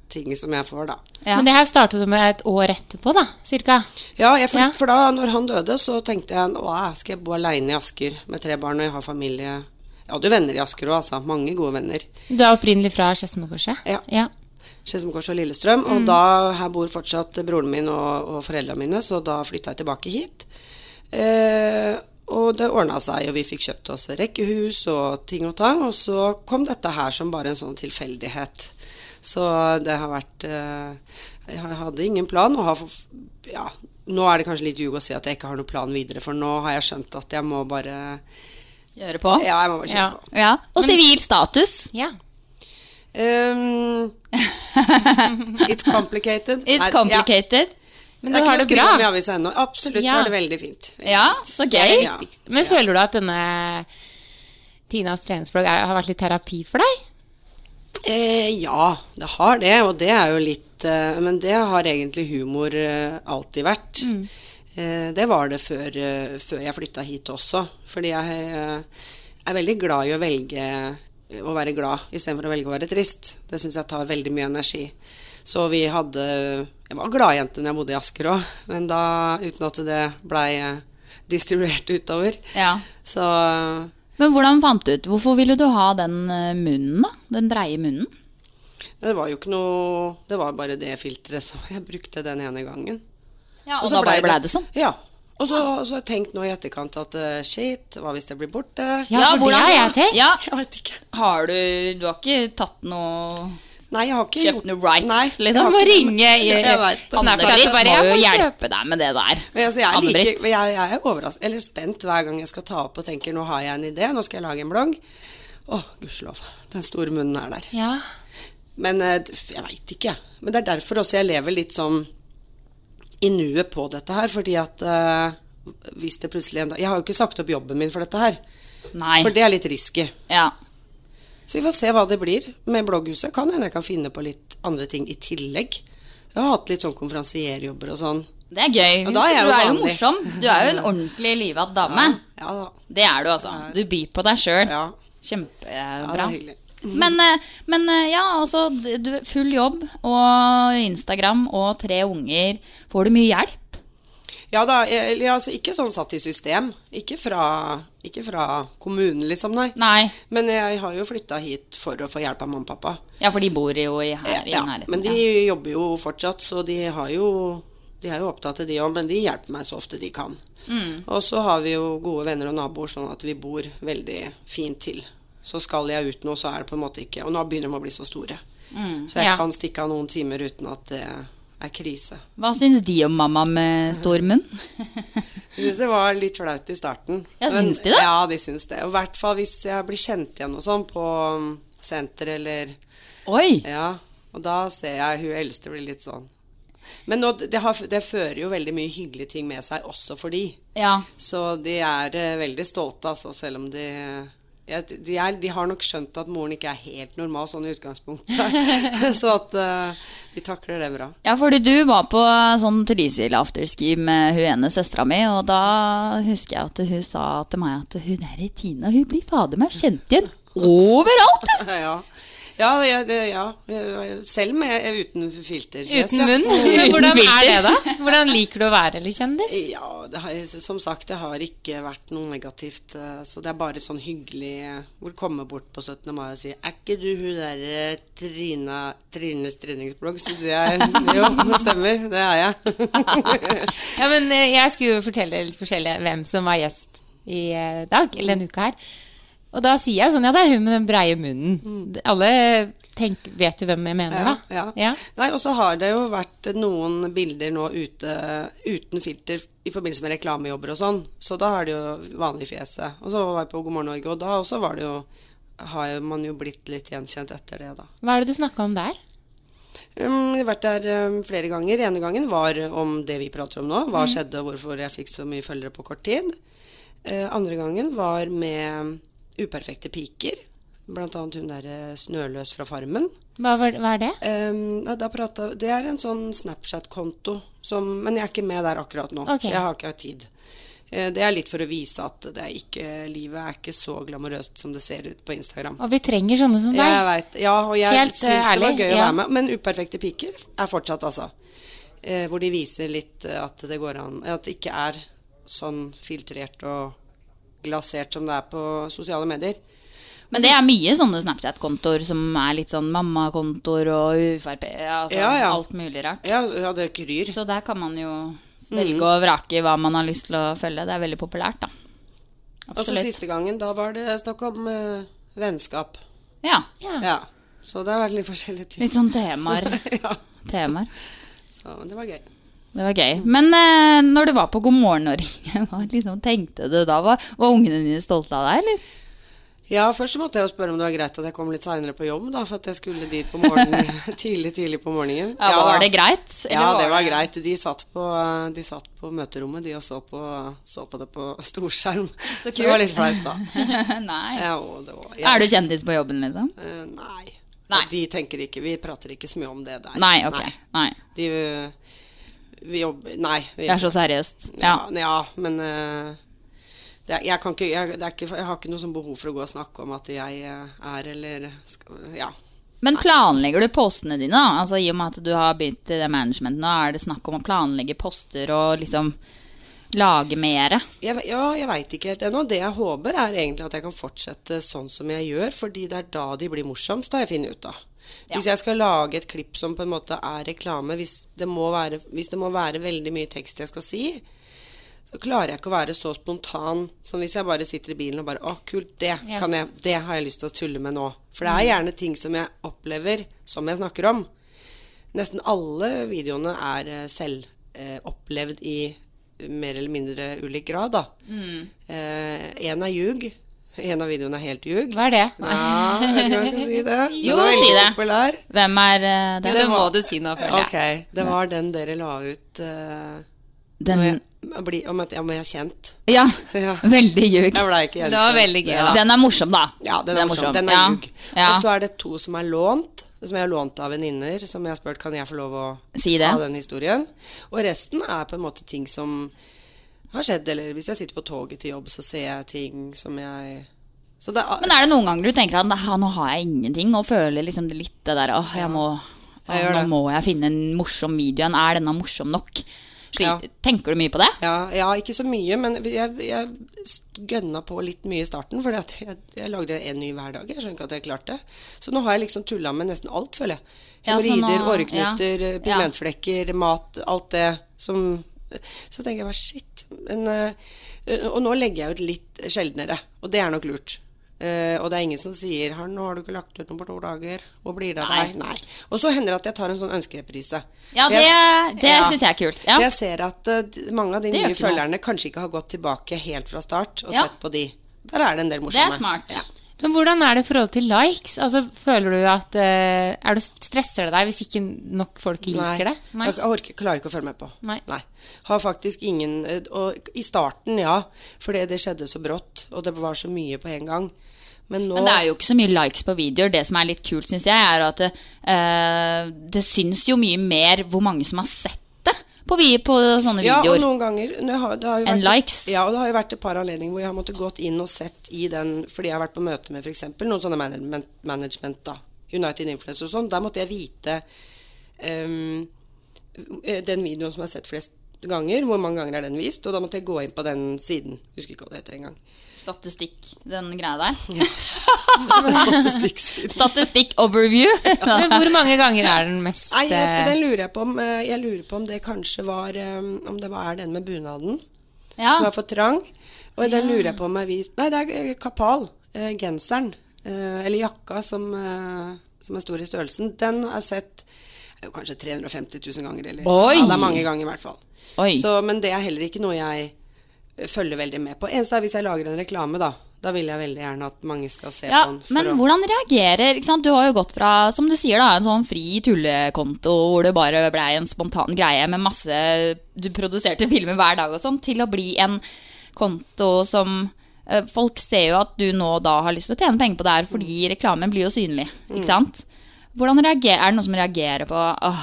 S7: ting som jeg får, da.
S3: Men det her startet du med et år etterpå, da, cirka?
S7: Ja, jeg, for, for da når han døde, så tenkte jeg Åh, skal jeg bo aleine i Asker med tre barn og jeg har familie Jeg hadde jo venner i Asker òg, altså. Mange gode venner.
S3: Du er opprinnelig fra Skedsmokorset?
S7: Ja.
S3: ja.
S7: Skedsmokorset og Lillestrøm. Og
S3: Mm.
S7: da her bor fortsatt broren min og, og foreldrene mine, så da flytta jeg tilbake hit. Eh, og det ordna seg, og vi fikk kjøpt oss rekkehus og ting og tang. Og så kom dette her som bare en sånn tilfeldighet. Så det har vært eh, Jeg hadde ingen plan. og har, f- ja, Nå er det kanskje litt ljug å si at jeg ikke har noen plan videre, for nå har jeg skjønt at jeg må bare
S5: Gjøre på?
S7: Ja, jeg må bare kjøre på.
S5: Ja. Og sivil status?
S3: Ja.
S7: Um, it's complicated.
S5: It's
S7: Nei,
S5: complicated.
S7: Ja.
S3: Men
S7: det
S3: du har
S7: er ikke noe
S3: det bra.
S7: skriving i avisa ennå. Absolutt
S3: Ja.
S7: har det veldig fint.
S5: Ja, så
S3: Det er
S5: gøy.
S3: det viktigste. Men føler du at denne Tinas treningsblogg er- har vært litt terapi for deg?
S7: Eh, ja, det har det, og det er jo litt eh, Men det har egentlig humor eh, alltid vært.
S3: Mm.
S7: Eh, det var det før, eh, før jeg flytta hit også. Fordi jeg eh, er veldig glad i å velge eh, å være glad istedenfor å velge å være trist. Det syns jeg tar veldig mye energi. Så vi hadde Jeg var gladjente når jeg bodde i Asker òg, men da uten at det blei eh, distribuert utover.
S5: Ja.
S7: Så
S5: Men hvordan fant du ut? Hvorfor ville du ha den eh, munnen, da? Den breie munnen?
S7: Det var jo ikke noe Det var bare det filteret som jeg brukte den ene gangen.
S5: Ja, og da
S7: så
S5: bare ble det sånn.
S7: Ja. Og så og så har jeg tenkt nå i etterkant at eh, shit, hva hvis det blir borte?
S5: hvordan- Ja. Har du Du har ikke tatt noe
S7: Nei, jeg har ikke
S5: kjøpt noe rights,
S7: Nei, jeg
S5: liksom?
S7: har
S5: Du må
S7: ikke-
S5: ringe i
S7: Jeg vet.
S5: Snapchat
S7: Anne-Britt
S5: og bare
S7: må
S5: Jeg må
S7: jo hjelpe
S5: hjelpe deg med det der.
S7: Men altså, jeg, er like,
S5: Anne-Britt.
S7: men jeg, jeg er overrasket, eller spent hver gang jeg skal ta opp og tenker nå har jeg en idé, nå skal jeg lage en blogg. Å, gudskjelov. Den store munnen er der.
S3: Ja.
S7: Men eh, jeg veit ikke. Men det er derfor også jeg lever litt sånn i nuet på dette her. Fordi at eh, hvis det plutselig en dag Jeg har jo ikke sagt opp jobben min for dette her.
S5: Nei.
S7: For det er litt risky.
S5: Ja.
S7: Så vi får se hva det blir. Med blogghuset kan hende jeg kan finne på litt andre ting i tillegg. Jeg har hatt litt sånn konferansierjobber og sånn.
S5: Det er gøy.
S7: Ja, da er jeg
S5: du
S7: jo
S5: er jo
S7: vanlig.
S5: morsom. Du er jo en ordentlig livat dame.
S7: Ja, da.
S5: Det er du, altså. Du byr på deg sjøl.
S7: Ja, det
S5: Kjempebra.
S7: er hyggelig.
S5: men, eh, men eh, ja, altså d- du, Full jobb og Instagram og tre unger. Får du mye hjelp?
S7: Ja da, jeg, eller, altså ikke sånn satt i system. Ikke fra, ikke fra kommunen, liksom, nei. Men jeg har jo flytta hit for å få hjelp av mamma og pappa.
S5: Ja, for de bor jo i her i
S7: Ja,
S5: nærheten.
S7: men de
S5: ja.
S7: jobber jo fortsatt, så de har jo De er jo opptatt av de òg, men de hjelper meg så ofte de kan.
S8: Mm.
S7: Og så har vi jo gode venner og naboer, sånn at vi bor veldig fint til. Så skal jeg ut nå, så er det på en måte ikke Og nå begynner de å bli så store.
S5: Mm.
S7: Så jeg
S5: Ja.
S7: kan stikke av noen timer uten at det er krise.
S5: Hva syns de om mamma med stor munn?
S7: Jeg syns det var litt flaut i starten.
S5: Ja,
S7: Men-
S5: syns de det?
S7: Ja, de syns det. Og i hvert fall hvis jeg blir kjent igjen og sånn på um, senter eller
S5: Oi!
S7: Ja, og da ser jeg hun eldste blir litt sånn. Men nå, det, har, det fører jo veldig mye hyggelige ting med seg også for de.
S5: Ja.
S7: Så de er eh, veldig stolte, altså, selv om de ja, de, er, de har nok skjønt at moren ikke er helt normal sånn i utgangspunktet. så at eh, de takler det bra.
S5: Ja, fordi du var på sånn Trysil afterski med hun ene søstera mi, og da husker jeg at hun sa til meg at hun der i Tina, hun blir fader meg kjent igjen overalt!
S7: ja. Ja, ja, det, ja. Selv med uten filter.
S3: Uten
S7: Ja.
S3: munn? Men hvordan er det, da? Hvordan liker du å være litt kjendis?
S7: Ja, det har, som sagt, det har ikke vært noe negativt. eh, Så det er bare sånn hyggelig eh, hvor komme bort på 17. mai og si Er ikke du hun derre Trina Trines treningsblogg? Så sier jeg jo, det stemmer. Det er jeg.
S3: Ja, men eh, jeg skulle jo fortelle litt forskjellig hvem som var gjest i eh, dag, eller denne uka her. Og da sier jeg sånn, ja, det er hun med den breie munnen. Alle tenker, vet jo hvem jeg mener,
S7: Mm. Ja,
S3: da.
S7: ja. Nei, og så har det jo vært noen bilder nå ute uten filter i forbindelse med reklamejobber og sånn, så da er det jo vanlig fjeset. Og så var jeg på God morgen Norge, og da også var det jo har jo- man jo blitt litt gjenkjent etter det, da.
S3: Hva er det du snakka om der?
S7: Um, jeg har vært der um, flere ganger. Ene gangen var om det vi prater om nå. Hva
S3: Mm.
S7: skjedde, og hvorfor jeg fikk så mye følgere på kort tid. Eh, andre gangen var med uperfekte piker. Blant annet hun derre Snøløs fra Farmen.
S3: Hva, var, hva er det?
S7: Ehm, nei, da pratet- det er en sånn Snapchat-konto, som- men jeg er ikke med der akkurat nå.
S3: Ok.
S7: Jeg har ikke hatt tid. Eh, Det er litt for å vise at det er ikke, livet er ikke så glamorøst som det ser ut på Instagram.
S3: Og vi trenger sånne som deg.
S7: Jeg vet, ja, og jeg
S3: Helt,
S7: syns
S3: eh,
S7: det var
S3: ærlig,
S7: gøy å
S3: ja.
S7: være med. Men Uperfekte piker er fortsatt, altså. Eh, hvor de viser litt eh, at det går an At det ikke er sånn filtrert og glasert som det er på sosiale medier.
S5: Men det er mye sånne Snapchat-kontoer som er litt sånn mammakontoer og UFRP, altså
S7: Ja, ja.
S5: alt mulig rart.
S7: Ja, det kryr.
S5: Så der kan man jo
S7: Mm.
S5: velge og vrake hva man har lyst til å følge. Det er veldig populært, da.
S7: Og så
S5: Absolutt.
S7: siste gangen, da var det snakk om eh, vennskap.
S5: Ja.
S7: Så det har vært litt forskjellige ting.
S5: Litt sånn temaer.
S7: ja.
S5: Temaer.
S7: Så men det var gøy.
S5: Det var gøy. Men eh, når du var på God morgen Norge, hva liksom tenkte du da? Var, var ungene dine stolte av deg, eller?
S7: Ja, først så måtte jeg jo spørre om det var greit at jeg kom litt seinere på jobb, da, for at jeg skulle dit på morgenen, tidlig, tidlig på morgenen.
S5: Ja,
S7: da.
S5: var det greit, eller
S7: Ja,
S5: var
S7: det var
S5: det-
S7: greit. De satt på, eh, de satt på møterommet, de, og så på, så på det på storskjerm. Så, det var litt flaut, da.
S5: Nei.
S7: Ja, og det var,
S5: Er du kjendis på jobben, liksom?
S7: Eh, nei. De tenker ikke Vi prater ikke så mye om det der.
S5: Nei, ok. Nei.
S7: De, eh, vi jobber Nei. Vi,
S5: Det er så seriøst.
S7: Ja,
S5: Ja.
S7: ja men eh, det er, jeg, kan ikke, jeg, det er ikke, jeg har ikke noe sånn behov for å gå og snakke om at jeg eh, er eller skal, Ja.
S5: Men planlegger du postene dine, da? Altså, I og med at du har begynt i det managementet nå, er det snakk om å planlegge poster og liksom lage mere?
S7: Jeg, ve- ja, jeg veit ikke helt ennå. Det jeg håper, er egentlig at jeg kan fortsette sånn som jeg gjør, fordi det er da de blir morsomst, har jeg funnet ut av. Hvis jeg skal lage et klipp som på en måte er reklame, hvis det, må være, hvis det må være veldig mye tekst jeg skal si, så klarer jeg ikke å være så spontan som hvis jeg bare sitter i bilen og bare Å, kult, det
S9: Ja.
S7: kan jeg Det har jeg lyst til å tulle med nå. For det er gjerne ting som jeg opplever, som jeg snakker om. Nesten alle videoene er eh, selv eh, opplevd i mer eller mindre ulik grad, da.
S5: Mm.
S7: Eh, en er ljug. En av videoene er helt ljug.
S3: Hva er det?
S7: Ja, jeg vet ikke om jeg skal si det. Den
S5: Jo,
S7: er veldig
S5: si det.
S7: Populær.
S5: Hvem er eh, det?
S7: Ok, det var den dere la ut eh,
S5: Den-
S7: om jeg- om jeg blir- om, at, om jeg er kjent.
S5: Ja, veldig ljug.
S7: Jeg ble ikke
S5: Det var
S7: gjenkjent.
S5: veldig gøy,
S7: Ja.
S5: da. Den er morsom, da.
S7: Ja, den
S5: Den
S7: er
S5: er
S7: morsom.
S5: morsom.
S7: Den er
S5: Ja.
S7: ljug.
S5: Ja.
S7: Og så er det to som er lånt, som jeg har lånt av venninner, som jeg har spurt kan jeg få lov å
S5: Si det.
S7: ta den historien. Og resten er på en måte ting som har skjedd, eller hvis jeg sitter på toget til jobb, så ser jeg ting som jeg så det er,
S5: Men er det noen ganger du tenker at "Hæ, nå har jeg ingenting, og føler liksom litt det der åh, jeg må, åh,
S7: Jeg gjør
S5: nå
S7: det.
S5: må jeg finne en morsom video igjen. Er denne morsom nok? Slik,
S7: Ja.
S5: Tenker du mye på det?
S7: Ja, ja, ikke så mye, men jeg, jeg st- gønna på litt mye i starten, for jeg, jeg lagde en ny hver dag. Jeg skjønner ikke at jeg klarte det. Så nå har jeg liksom tulla med nesten alt, føler jeg.
S5: Ja, så
S7: Hemoroider,
S5: nå-
S7: åreknuter,
S5: ja.
S7: pigmentflekker, mat, alt det Som, så tenker jeg bare shit. Men, eh, og nå legger jeg ut litt sjeldnere, og det er nok lurt. Eh, og det er ingen som sier har, 'Nå har du ikke lagt ut noe på to dager. Hvor blir det av
S5: Nei.
S7: deg?' Nei. Og så hender det at jeg tar en sånn ønskereprise.
S5: Ja,
S7: For jeg-
S5: det- det synes jeg er kult, ja.
S7: For jeg ser at eh, d- mange av de
S5: Det gjør
S7: nye
S5: ikke noe.
S7: følgerne kanskje ikke har gått tilbake helt fra start og
S3: Ja.
S7: sett på de. Der er det en del
S3: Det
S7: morsomme.
S3: er smart. Men hvordan er det i forhold til likes? Altså, føler du at eh, er du Stresser det deg hvis ikke nok folk liker det?
S7: Nei. Jeg orker, klarer ikke å følge med på.
S3: Nei.
S7: Har faktisk ingen eh, Og i starten, ja. Fordi det skjedde så brått, og det var så mye på en gang. Men nå
S5: Men det er jo ikke så mye likes på videoer. Det som er litt kult, syns jeg, er at eh, det syns jo mye mer hvor mange som har sett det på, vi, på sånne
S7: ja, og
S5: videoer.
S7: noen ganger nå har, det har jo
S5: Enn
S7: vært,
S5: likes.
S7: Ja, og det har jo vært et par anledninger hvor jeg har måttet gått inn og sett i den fordi jeg har vært på møte med f.eks. noen sånne management, management da, United Influence og sånn. Der måtte jeg vite ehm, eh, den videoen som er sett flest ganger, hvor mange ganger er den vist, og da måtte jeg gå inn på den siden. Husker ikke hva det heter engang.
S5: Statistikk, den greia der.
S7: Statistikksiden.
S5: Statistikk overview.
S3: Men hvor mange ganger er den mest
S7: Nei, jeg,
S3: eh,
S7: den lurer jeg på om eh, Jeg lurer på om det kanskje var um, Om det var den med bunaden
S5: Ja.
S7: Som er for trang Og
S5: Ja.
S7: den lurer jeg på om jeg vist Nei, det er eh, kapal, eh, genseren eh, Eller jakka som, eh, som er stor i størrelsen Den er sett eh, jo Kanskje 350 000 ganger eller,
S5: Oi!
S7: Ja, det er mange ganger i hvert fall
S5: Oi.
S7: så, Men det er heller ikke noe jeg eh, følger veldig med på Eneste er hvis jeg lager en reklame da Da vil jeg veldig gjerne at mange skal se
S5: Ja,
S7: på den for
S5: men
S7: å-
S5: hvordan reagerer ikke sant? Du har jo gått fra som du sier da, en sånn fri tullekonto hvor det bare ble en spontan greie med masse Du produserte filmer hver dag og sånn, til å bli en konto som eh, Folk ser jo at du nå da har lyst til å tjene penger på det her fordi reklamen blir jo synlig.
S7: Mm.
S5: Ikke sant? Hvordan reagerer, Er det noen som reagerer på åh,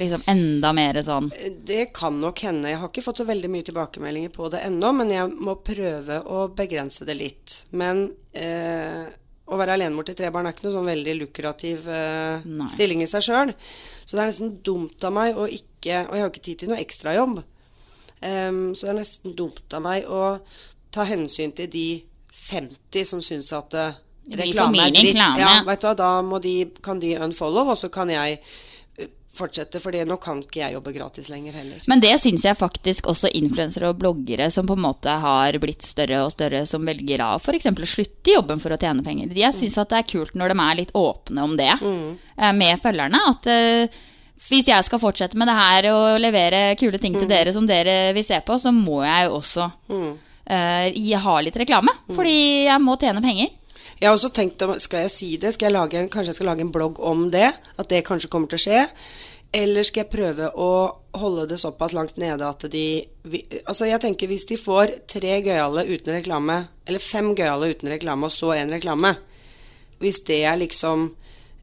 S5: liksom enda mer sånn
S7: Det kan nok hende. Jeg har ikke fått så veldig mye tilbakemeldinger på det ennå, men jeg må prøve å begrense det litt. Men eh, å være alenemor til tre barn er ikke noe sånn veldig lukrativ eh,
S5: Nei.
S7: stilling i seg sjøl. Så det er nesten dumt av meg å ikke Og jeg har jo ikke tid til noe ekstrajobb. Um, så det er nesten dumt av meg å ta hensyn til de 50 som syns at eh,
S5: Det blir for
S7: reklame
S5: mye
S7: er dritt.
S5: reklame.
S7: Ja, vet du hva, da må de, kan de unfollow, og så kan jeg eh, fortsette, for nå kan ikke jeg jobbe gratis lenger heller.
S5: Men det syns jeg faktisk også influensere og bloggere som på en måte har blitt større og større, som velger av f.eks. å slutte i jobben for å tjene penger. Jeg syns at det er kult når de er litt åpne om det
S7: Mm.
S5: eh, med følgerne. At eh, hvis jeg skal fortsette med det her og levere kule ting
S7: Mm.
S5: til dere som dere vil se på, så må jeg jo også eh, gi- ha litt reklame.
S7: Mm.
S5: Fordi jeg må tjene penger.
S7: Jeg har også tenkt om, skal jeg si det? Skal jeg lage en, kanskje jeg skal lage en blogg om det? At det kanskje kommer til å skje? Eller skal jeg prøve å holde det såpass langt nede at de vi- Altså, jeg tenker hvis de får tre gøyale uten reklame, eller fem gøyale uten reklame, og så en reklame Hvis det er liksom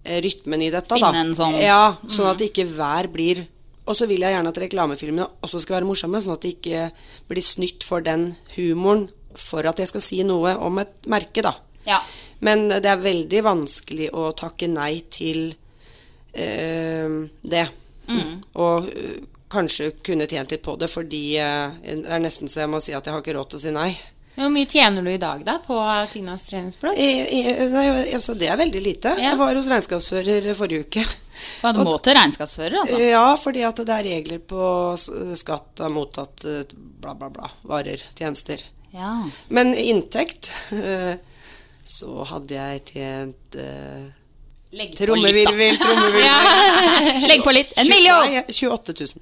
S7: eh, rytmen i dette, da.
S5: Finne en sånn-
S7: Ja, sånn at ikke hver blir Og så vil jeg gjerne at reklamefilmene også skal være morsomme, sånn at de ikke blir snytt for den humoren for at jeg skal si noe om et merke, da.
S5: Ja.
S7: Men det er veldig vanskelig å takke nei til eh, det.
S5: Mm.
S7: Og eh, kanskje kunne tjent litt på det, fordi eh, det er nesten så jeg må si at jeg har ikke råd til å si nei.
S3: Hvor mye tjener du i dag, da, på Tinas treningsblogg?
S7: I- i- nei altså, det er veldig lite. Jeg var hos regnskapsfører forrige uke.
S5: På en
S7: Og- Eh,
S5: måte regnskapsfører, altså.
S7: Ja, fordi at det er regler på s- skatt av mottatt eh, bla, bla, bla. Varer, tjenester.
S5: Ja.
S7: Men inntekt eh, så hadde jeg tjent eh,
S5: Legg på litt, da.
S7: Trommevirvel, trommevirvel.
S5: Ja. Legg på litt. En
S7: Tjue-
S5: million!
S7: Nei, 28 000.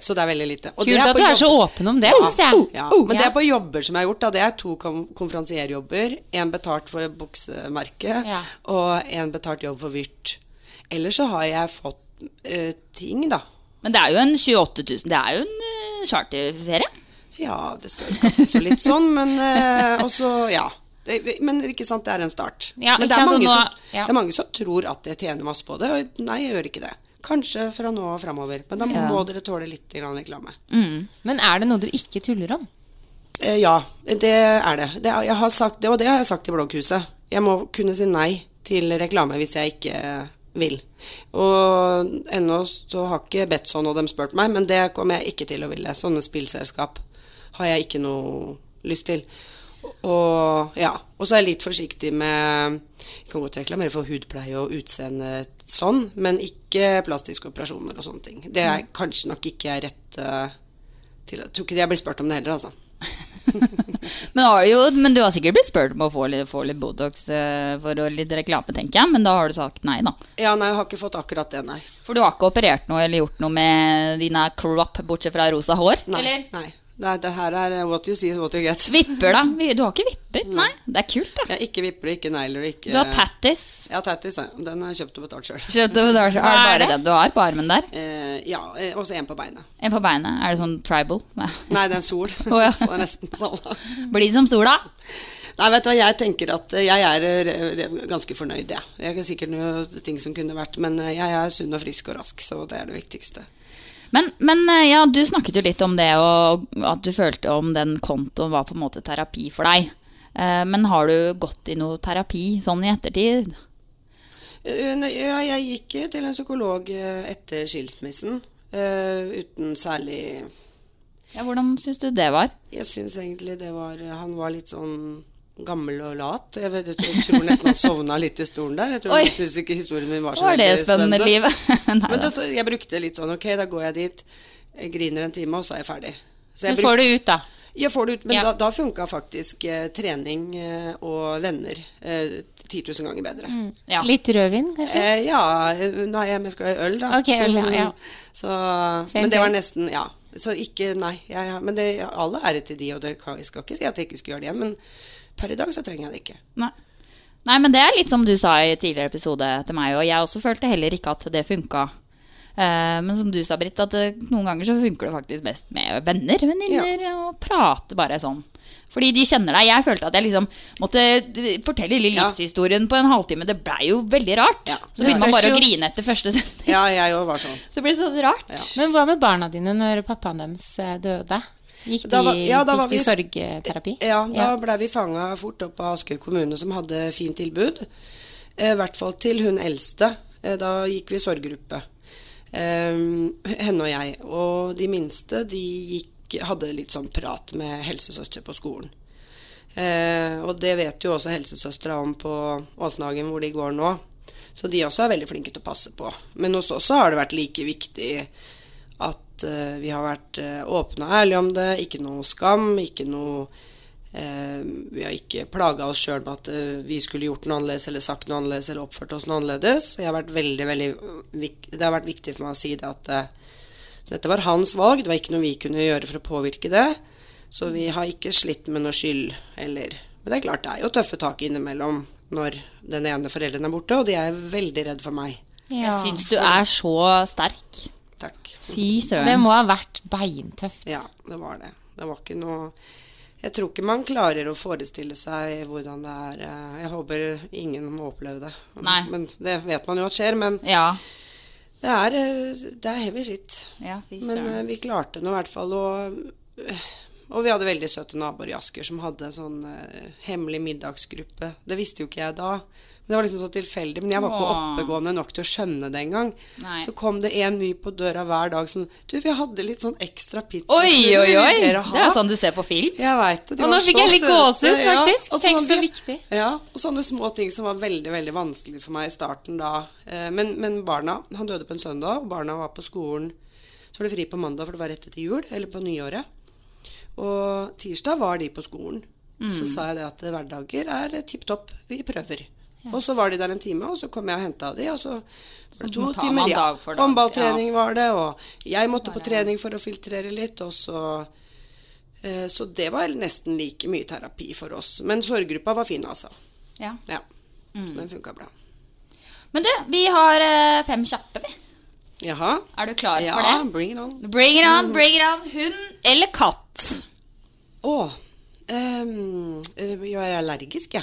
S7: Så det er veldig lite. Og det
S3: Kult at
S7: på
S3: du er så
S7: jobber-
S3: åpen om det,
S7: Ja.
S3: synes jeg.
S7: Ja.
S3: Uh, uh.
S7: Men det
S3: Ja.
S7: er på jobber som jeg har gjort. Da. Det er to kom konferansierjobber. Én betalt for buksemerket,
S3: Ja.
S7: og én betalt jobb for Vyrt. Ellers så har jeg fått eh, ting, da.
S5: Men det er jo en 28 000. Det er jo en eh, charterferie.
S7: Ja, det skal jo skattes jo litt sånn, men eh, også, ja. Det, men ikke sant, det er en start.
S3: Ja, ikke
S7: men det er,
S3: sant, og
S7: mange
S3: nå-
S7: som,
S3: ja.
S7: det er mange som tror at jeg tjener masse på det, og nei, jeg gjør ikke det. Kanskje fra nå og framover, men da må
S3: Ja.
S7: dere tåle litt grann reklame.
S3: Men er det noe du ikke tuller om?
S7: Eh, ja, det er det. Det, er- jeg har sagt, det. Og det har jeg sagt i blogghuset. Jeg må kunne si nei til reklame hvis jeg ikke eh, vil. Og ennå så har ikke Betson og dem spurt meg, men det kommer jeg ikke til å ville. Sånne spillselskap har jeg ikke noe lyst til. Og, ja. og så er jeg litt forsiktig med Jeg kan godt reklamere for hudpleie og utseende sånn, men ikke plastiske operasjoner og sånne ting. Det er kanskje nok ikke jeg rett eh, til Jeg tror ikke jeg blir spurt om det heller, altså.
S5: Men, har jo, men du har sikkert blitt spurt om å få litt, få litt Botox eh, for å litt reklame, tenker jeg. Men da har du sagt nei, da.
S7: Ja, nei, jeg har ikke fått akkurat det, nei.
S5: For du har ikke operert noe eller gjort noe med dine crop, bortsett fra rosa hår?
S7: Nei.
S5: Eller?
S7: nei. Det, er- det her er what you see is what you get.
S5: Vipper, da? Vi- Du har ikke vipper? Nei. Det er kult, da.
S7: Jeg har ikke vipper, ikke negler, ikke
S5: Du har tattis.
S7: Ja, tattis. ja. Den har jeg kjøpt og betalt sjøl.
S5: Skjønte du, det er så- er det bare den du har på armen der?
S7: ja, eh, også en på beinet.
S5: En på beinet. Er det sånn tribal? Nei.
S7: Nei, det er sol.
S5: Å, ja.
S7: Så det er nesten samme.
S5: Bli som sola.
S7: Nei, vet du hva, jeg tenker at eh, jeg er eh, re- re- ganske fornøyd, jeg. Jeg kan sikkert noe ting som kunne vært, men eh, jeg er sunn og frisk og rask, så det er det viktigste.
S5: Men, men eh, ja, du snakket jo litt om det, og at du følte om den kontoen var på en måte terapi for deg. Eh, Men har du gått i noe terapi sånn i ettertid?
S7: Eh, nei, Ja, jeg gikk eh, til en psykolog eh, etter skilsmissen, eh, uten særlig
S5: Ja, Hvordan syns du det var?
S7: Jeg syns egentlig det var Han var litt sånn gammel og lat. Jeg, vet, jeg tror nesten han sovna litt i stolen der. Jeg tror
S5: Oi.
S7: han syntes ikke historien min var så
S5: Var det
S7: veldig
S5: spennende livet?
S7: Men da, så jeg brukte litt sånn Ok, da går jeg dit, jeg griner en time, og så er jeg ferdig. Så jeg
S5: Du får
S7: brukte-
S5: det ut, da.
S7: Jeg får det ut, men
S5: Ja.
S7: da, da funka faktisk eh, trening eh, og venner eh, 10 000 ganger bedre.
S3: Mm, ja. Litt rødvin, kanskje?
S7: Eh, ja, eh, nå er jeg mest glad i øl, da.
S3: Ok, øl, ja, ja.
S7: Så,
S3: Same,
S7: men det var
S3: same.
S7: nesten Ja. Så ikke Nei. Ja, ja, men det, alle ære til de, og det kan, jeg skal ikke si at jeg ikke skulle gjøre det igjen, men per i dag så trenger jeg det ikke.
S5: Nei. Nei, men det er litt som du sa i tidligere episode til meg, og jeg også følte heller ikke at det funka. Eh, Men som du sa, Britt, at eh, noen ganger så funker det faktisk best med venner, venninner, og prate bare sånn. Fordi de kjenner deg. Jeg følte at jeg liksom måtte fortelle lille livshistorien på en halvtime. Det blei jo veldig rart. Så
S3: Det
S5: begynner man
S3: spørs
S5: bare å
S3: jo-
S5: grine etter første setning.
S7: Ja, jeg òg var sånn.
S5: Så blir det så rart.
S3: Men hva med barna dine når pappaen deres eh, døde? Gikk de,
S7: Da var- ja, da var
S3: gikk de
S7: vi-
S3: sorgterapi?
S7: Ja, da blei vi fanga fort opp av Askøy kommune, som hadde fint tilbud. Eh, I hvert fall til hun eldste. Eh, da gikk vi i sorggruppe. Eh, henne og jeg. Og de minste, de gikk, hadde litt sånn prat med helsesøster på skolen. Eh, og det vet jo også helsesøstera om på Åsnagen, hvor de går nå. Så de også er veldig flinke til å passe på. Men hos oss så har det vært like viktig at eh, vi har vært eh, åpne og ærlige om det. Ikke noe skam. Ikke noe eh, Vi har ikke plaga oss sjøl med at eh, vi skulle gjort noe annerledes eller sagt noe annerledes eller oppført oss noe annerledes. Jeg har vært veldig, veldig, vik- det har vært viktig for meg å si det at eh, dette var hans valg. Det var ikke noe vi kunne gjøre for å påvirke det. Så vi har ikke slitt med noe skyld eller Men det er klart det er jo tøffe tak innimellom når den ene forelderen er borte, og de er veldig redd for meg.
S5: Jeg syns du er så sterk.
S7: Takk.
S5: Fy søren.
S3: Det må ha vært beintøft.
S7: Ja, det var det. Det var ikke noe Jeg tror ikke man klarer å forestille seg hvordan det er eh, Jeg håper ingen må oppleve det.
S5: Nei.
S7: Men det vet man jo at skjer. Men det, er, eh, det er heavy shit.
S5: Ja, fy
S7: men
S5: søren.
S7: eh, vi klarte nå i hvert fall å eh, og vi hadde veldig søte naboer i Asker som hadde sånn eh, hemmelig middagsgruppe. Det visste jo ikke jeg da. Men Det var liksom så tilfeldig. Men jeg var ikke
S8: Åh.
S7: oppegående nok til å skjønne det engang.
S8: Nei.
S7: Så kom det en ny på døra hver dag som Du, vi hadde litt sånn ekstra pizza.
S5: Oi, oi, oi! Det er jo
S7: sånn
S5: sånn du ser på film.
S7: Jeg vet det. de
S3: Og
S7: var
S3: nå fikk
S7: så
S3: jeg litt
S7: søte,
S3: gåsehud,
S7: ja.
S3: faktisk.
S7: Og
S3: Tenk
S7: sånn
S3: så
S7: vi-
S3: viktig.
S7: Ja, og sånne små ting som var veldig veldig vanskelig for meg i starten da. Eh, Men, men barna Han døde på en søndag, og barna var på skolen. Så var det fri på mandag, for det var rett etter jul, eller på nyåret. Og tirsdag var de på skolen. Så
S8: Mm.
S7: sa jeg det at hverdager er tipp topp, vi prøver. Og så var de der en time, og så kom jeg og henta de, og så ble det
S8: Så
S7: to
S8: tar
S7: timer.
S8: man
S7: Ja.
S8: dag for dag,
S7: Håndballtrening var det, og jeg måtte på trening for å filtrere litt, og så Eh, Så det var nesten like mye terapi for oss. Men sorggruppa var fin, altså.
S5: Ja.
S7: Ja.
S5: Mm.
S7: Den funka bra.
S5: Men du, vi har eh, fem kjappe, vi.
S7: Jaha.
S5: Er du klar
S7: Ja,
S5: for det?
S7: bring it on.
S5: Bring it on, bring it on. Hund eller katt?
S7: Å ehm, eh, Jeg er allergisk, jeg. Ja.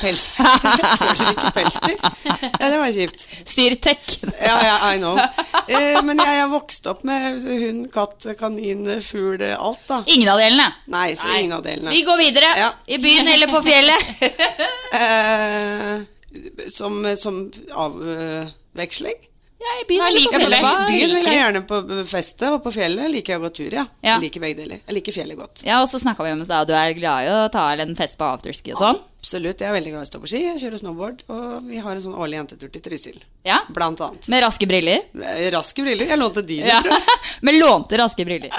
S7: Pels. Jeg tåler ikke pelsdyr. Ja, det var kjipt.
S5: Syrtek.
S7: Ja, ja, I know. Eh, men jeg har vokst opp med hund, katt, kanin, fugl, alt, da.
S5: Ingen av delene.
S7: Nei, så ingen av delene.
S5: Vi går videre.
S7: Ja.
S5: I byen eller på fjellet?
S7: Eh, som som avveksling?
S5: i byen eller på fjellet? Hva
S7: Byen vil
S5: liker
S7: jeg
S5: du?
S7: gjerne på festet, og på fjellet liker jeg å gå tur, ja.
S5: Ja.
S7: Jeg liker begge deler. Jeg liker fjellet godt.
S5: Ja, og så snakka vi om i stad, du er glad i å ta en fest på afterski og sånn.
S7: Absolutt. Jeg er veldig glad i å stå på ski, jeg kjører snowboard, og vi har en sånn årlig jentetur til Trysil.
S5: Ja.
S7: Blant annet.
S5: Med raske briller.
S7: Raske briller. Jeg lånte dine,
S5: Ja.
S7: tror jeg.
S5: Med lånte raske briller.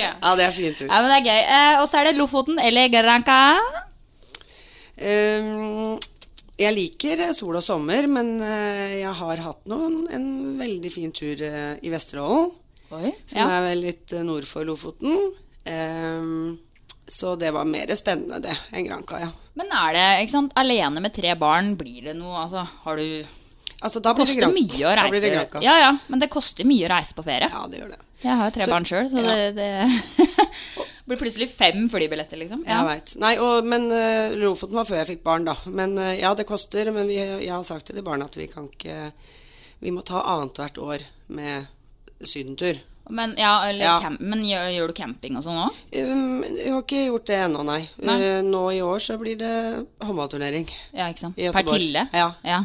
S7: Ja, det er fin tur.
S5: Ja, men det er gøy. Eh, og så er det Lofoten eller Granca.
S7: Ehm, jeg liker sol og sommer, men eh, jeg har hatt noen, en veldig fin tur eh, i Vesterålen. som
S5: ja.
S7: er vel litt eh, nord for Lofoten. Ehm, så det var mer spennende det enn Granca, ja.
S5: Men er det ikke sant, alene med tre barn, blir det noe altså, Har du
S7: Altså, da blir det
S5: koster
S7: Gran-
S5: mye å
S7: da
S5: reise.
S7: blir det Granca.
S5: Ja, ja, men det koster mye å reise på ferie.
S7: Ja, det gjør det.
S5: Jeg har jo tre
S7: Så-
S5: barn sjøl, så
S7: ja.
S5: det, det blir plutselig fem flybilletter, liksom.
S7: Jeg vet. Nei, og, men eh, Lofoten var før jeg fikk barn, da. Men eh, ja, det koster. Men vi, jeg har sagt til de barna at vi kan ikke Vi må ta annethvert år med sydentur.
S5: Men, ja, eller
S7: Ja.
S5: Camp, men gjør, gjør du camping og sånn òg?
S7: Um, jeg har ikke gjort det ennå, nei.
S5: Nei.
S7: Uh, nå i år så blir det håndballturnering.
S5: Ja, ikke sant.
S7: I Göteborg.
S5: Partille.
S7: Ja.
S5: Ja.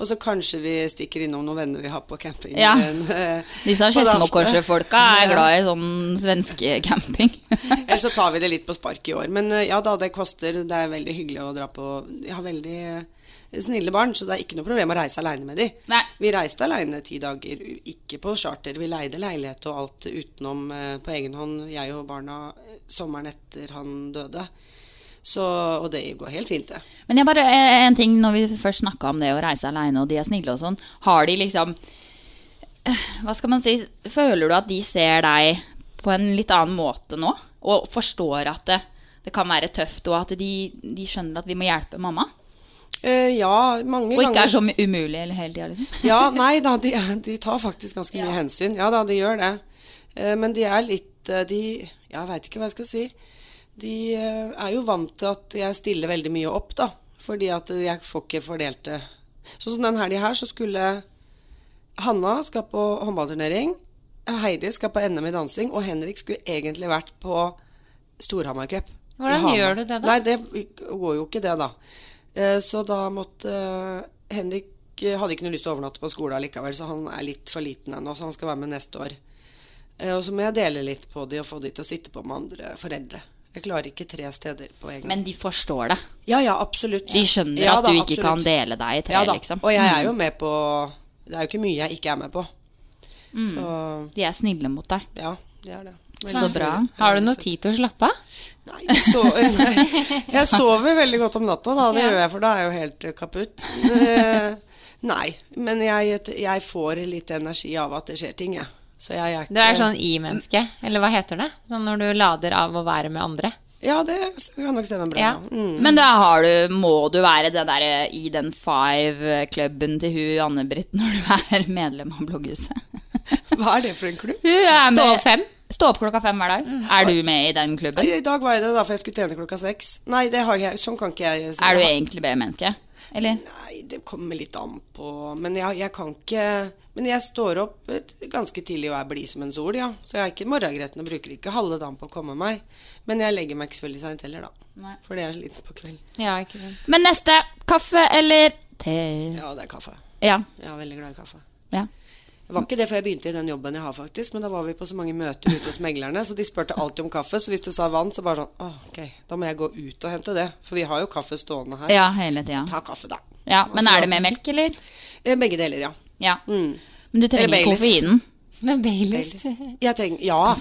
S7: Og så kanskje vi stikker innom noen venner vi har på camping.
S5: Ja.
S7: eh,
S5: Disse
S7: på dagen.
S5: Skedsmokorset-folka er
S7: Ja.
S5: glad i sånn svenskecamping.
S7: Ellers så tar vi det litt på spark i år. Men eh, ja da, det koster. Det er veldig hyggelig å dra på Jeg har veldig eh, snille barn, så det er ikke noe problem å reise aleine med de. Vi reiste aleine ti dager, u- ikke på charter. Vi leide leilighet og alt utenom eh, på egen hånd, jeg og barna, eh, sommeren etter han døde. Så, og det går helt fint, det.
S5: Men jeg bare, eh, en ting når vi først snakka om det å reise aleine, og de er snille og sånn. Har de liksom eh, Hva skal man si? Føler du at de ser deg på en litt annen måte nå? Og forstår at det, det kan være tøft, og at de, de skjønner at vi må hjelpe mamma?
S7: Eh, ja, mange
S5: Og ikke
S7: ganger
S5: er så umulig eller hele tida, liksom?
S7: Ja, nei da, de, de tar faktisk ganske mye hensyn. Ja da, de gjør det. Eh, Men de er litt eh, De Jeg veit ikke hva jeg skal si. De eh, er jo vant til at jeg stiller veldig mye opp, da. Fordi at jeg får ikke fordelt det. Sånn som den helga her, så skulle Hanna skal på håndballturnering. Heidi skal på NM i dansing. Og Henrik skulle egentlig vært på Storhamar Cup. i
S3: Hvordan
S7: Hamar.
S3: gjør du det da?
S7: Nei, det går jo ikke det, da. Eh, Så da måtte eh, Henrik eh, hadde ikke noe lyst til å overnatte på skolen likevel, så han er litt for liten ennå, så han skal være med neste år. Eh, Og så må jeg dele litt på de og få de til å sitte på med andre foreldre. Jeg klarer ikke tre steder på egen
S5: Men de forstår det.
S7: Ja, ja, absolutt.
S5: De skjønner
S7: Ja
S5: at
S7: da,
S5: du ikke
S7: absolutt.
S5: kan dele deg i tre,
S7: Ja da,
S5: liksom.
S7: Og jeg er jo med på Det er jo ikke mye jeg ikke er med på.
S5: Mm.
S7: Så
S5: De er snille mot deg.
S7: Ja, det er det.
S5: Så
S7: Veldig
S5: bra.
S7: snille.
S3: Har du noe tid til å slappe av?
S7: Nei, så, nei. Jeg sover veldig godt om natta, da. Det
S3: Ja.
S7: gjør jeg, for da er jeg jo helt eh, kaputt. Eh, Nei. Men jeg, jeg får litt energi av at det skjer ting, jeg. Så jeg er ikke
S3: Du er sånn i-menneske, eller hva heter det? Sånn når du lader av å være med andre.
S7: Ja, det kan nok stemme bra.
S3: Ja.
S7: Mm.
S5: Men da har du, må du være den der, eh, i den five-klubben til hun Anne-Britt når du er medlem av Blogghuset.
S7: Hva er Mm. det for en klubb?
S5: Hun er med-
S7: Stå opp fem?
S5: Stå opp klokka fem hver dag. Er du med i den klubben?
S7: Nei, I dag var jeg det, da, for jeg skulle trene klokka seks. Nei, det har jeg, sånn kan ikke jeg
S5: Er du egentlig B-menneske? Eller?
S7: Nei, det kommer litt an på Men jeg, jeg kan ikke Men jeg står opp et- ganske tidlig og er blid som en sol, ja. Så jeg er ikke morgengretten og bruker ikke halve dagen på å komme meg. Men jeg legger meg ikke så veldig seint heller, da.
S5: Nei.
S7: For det er jeg sliten på kvelden.
S3: Ja, ikke sant.
S5: Men neste. Kaffe eller te?
S7: Ja, det er kaffe.
S5: Ja.
S7: Jeg er veldig glad i kaffe.
S5: Ja.
S7: Det var ikke det før jeg begynte i den jobben jeg har, faktisk. Men da var vi på så mange møter ute hos meglerne, så de spurte alltid om kaffe. Så hvis du sa vann, så bare sånn Å, ok, da må jeg gå ut og hente det. For vi har jo kaffe stående her.
S5: Ja, hele tida.
S7: Ta kaffe, da.
S5: Ja, men
S7: Altså-
S5: er det med melk, eller?
S7: Eh, Begge deler, ja.
S5: Ja.
S7: Mm.
S5: Men du trenger
S7: Eller Baileys.
S5: koffeinen.
S3: Men Baileys
S7: Baileys. Jeg trenger, ja,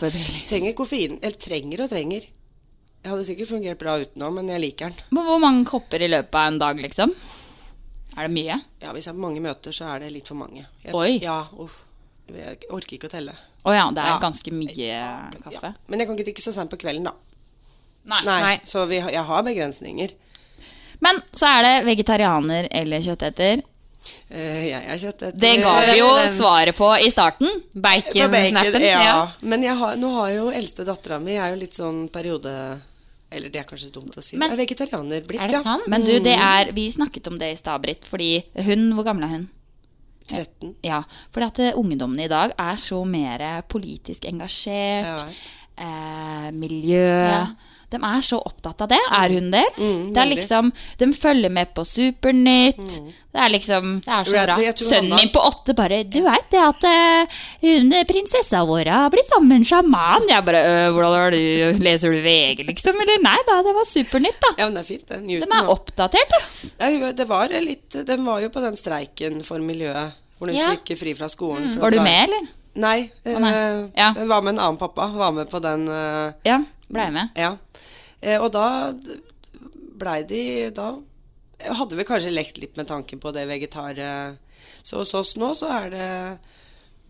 S7: trenger koffein. Eller trenger og trenger. Jeg hadde sikkert fungert bra utenom, men jeg liker den.
S5: Men Hvor mange kopper i løpet av en dag, liksom? Er det mye?
S7: Ja, Hvis jeg har mange møter, så er det litt for mange. Jeg,
S5: Oi.
S7: Ja, uff. Jeg orker ikke å telle.
S5: Å ja, det er
S7: Ja.
S5: ganske mye kaffe.
S7: Men jeg kan ikke drikke så sent på kvelden, da.
S5: Nei.
S7: Så vi, har- jeg har begrensninger.
S5: Men så er det vegetarianer eller kjøtteter.
S7: Eh, jeg er kjøtteter.
S5: Det ga vi jo svaret på i starten.
S7: På bacon,
S5: Bacon-snappen.
S7: ja. Men jeg har, nå har jo eldste dattera mi er jo litt sånn periode Eller det er kanskje dumt å si.
S5: Men-
S7: er vegetarianer blitt,
S5: Er det sant? Men du, det er, vi snakket om det i stad, Britt. Fordi hun, hvor gammel er hun?
S7: 13.
S5: Ja, fordi at eh, ungdommene i dag er så mer politisk
S7: Jeg
S5: engasjert.
S7: vet.
S5: Eh, miljø. De er så opptatt av det. Er hun det? det er
S7: Mm, veldig.
S5: liksom, De følger med på Supernytt. Det er liksom Det er så
S7: Radley,
S5: bra.
S7: jeg tror
S5: Sønnen
S7: Hanna-
S5: min på åtte bare 'Du veit det at eh, hun prinsessa vår har blitt sammen med en sjaman?' Jeg bare «Øh, 'Hvordan har du, leser du VG, liksom?' Eller nei da, det var Supernytt, da.
S7: Ja, men det er fint, det. Newton,
S5: De er
S7: da.
S5: oppdatert, ass.
S7: Ja, jo, det var litt Den var jo på den streiken for miljøet. Hvor de
S5: Ja.
S7: fikk fri fra skolen.
S5: Mm.
S7: for
S5: Var
S7: at
S5: du
S7: det-
S5: med, eller?
S7: Nei.
S5: Å, nei.
S7: eh, Jeg var med en annen pappa. Var med på den eh,
S5: Ja, blei med.
S7: Ja. Eh, Og da d- blei de Da hadde vi kanskje lekt litt med tanken på det vegetar... eh, Så hos oss nå så er det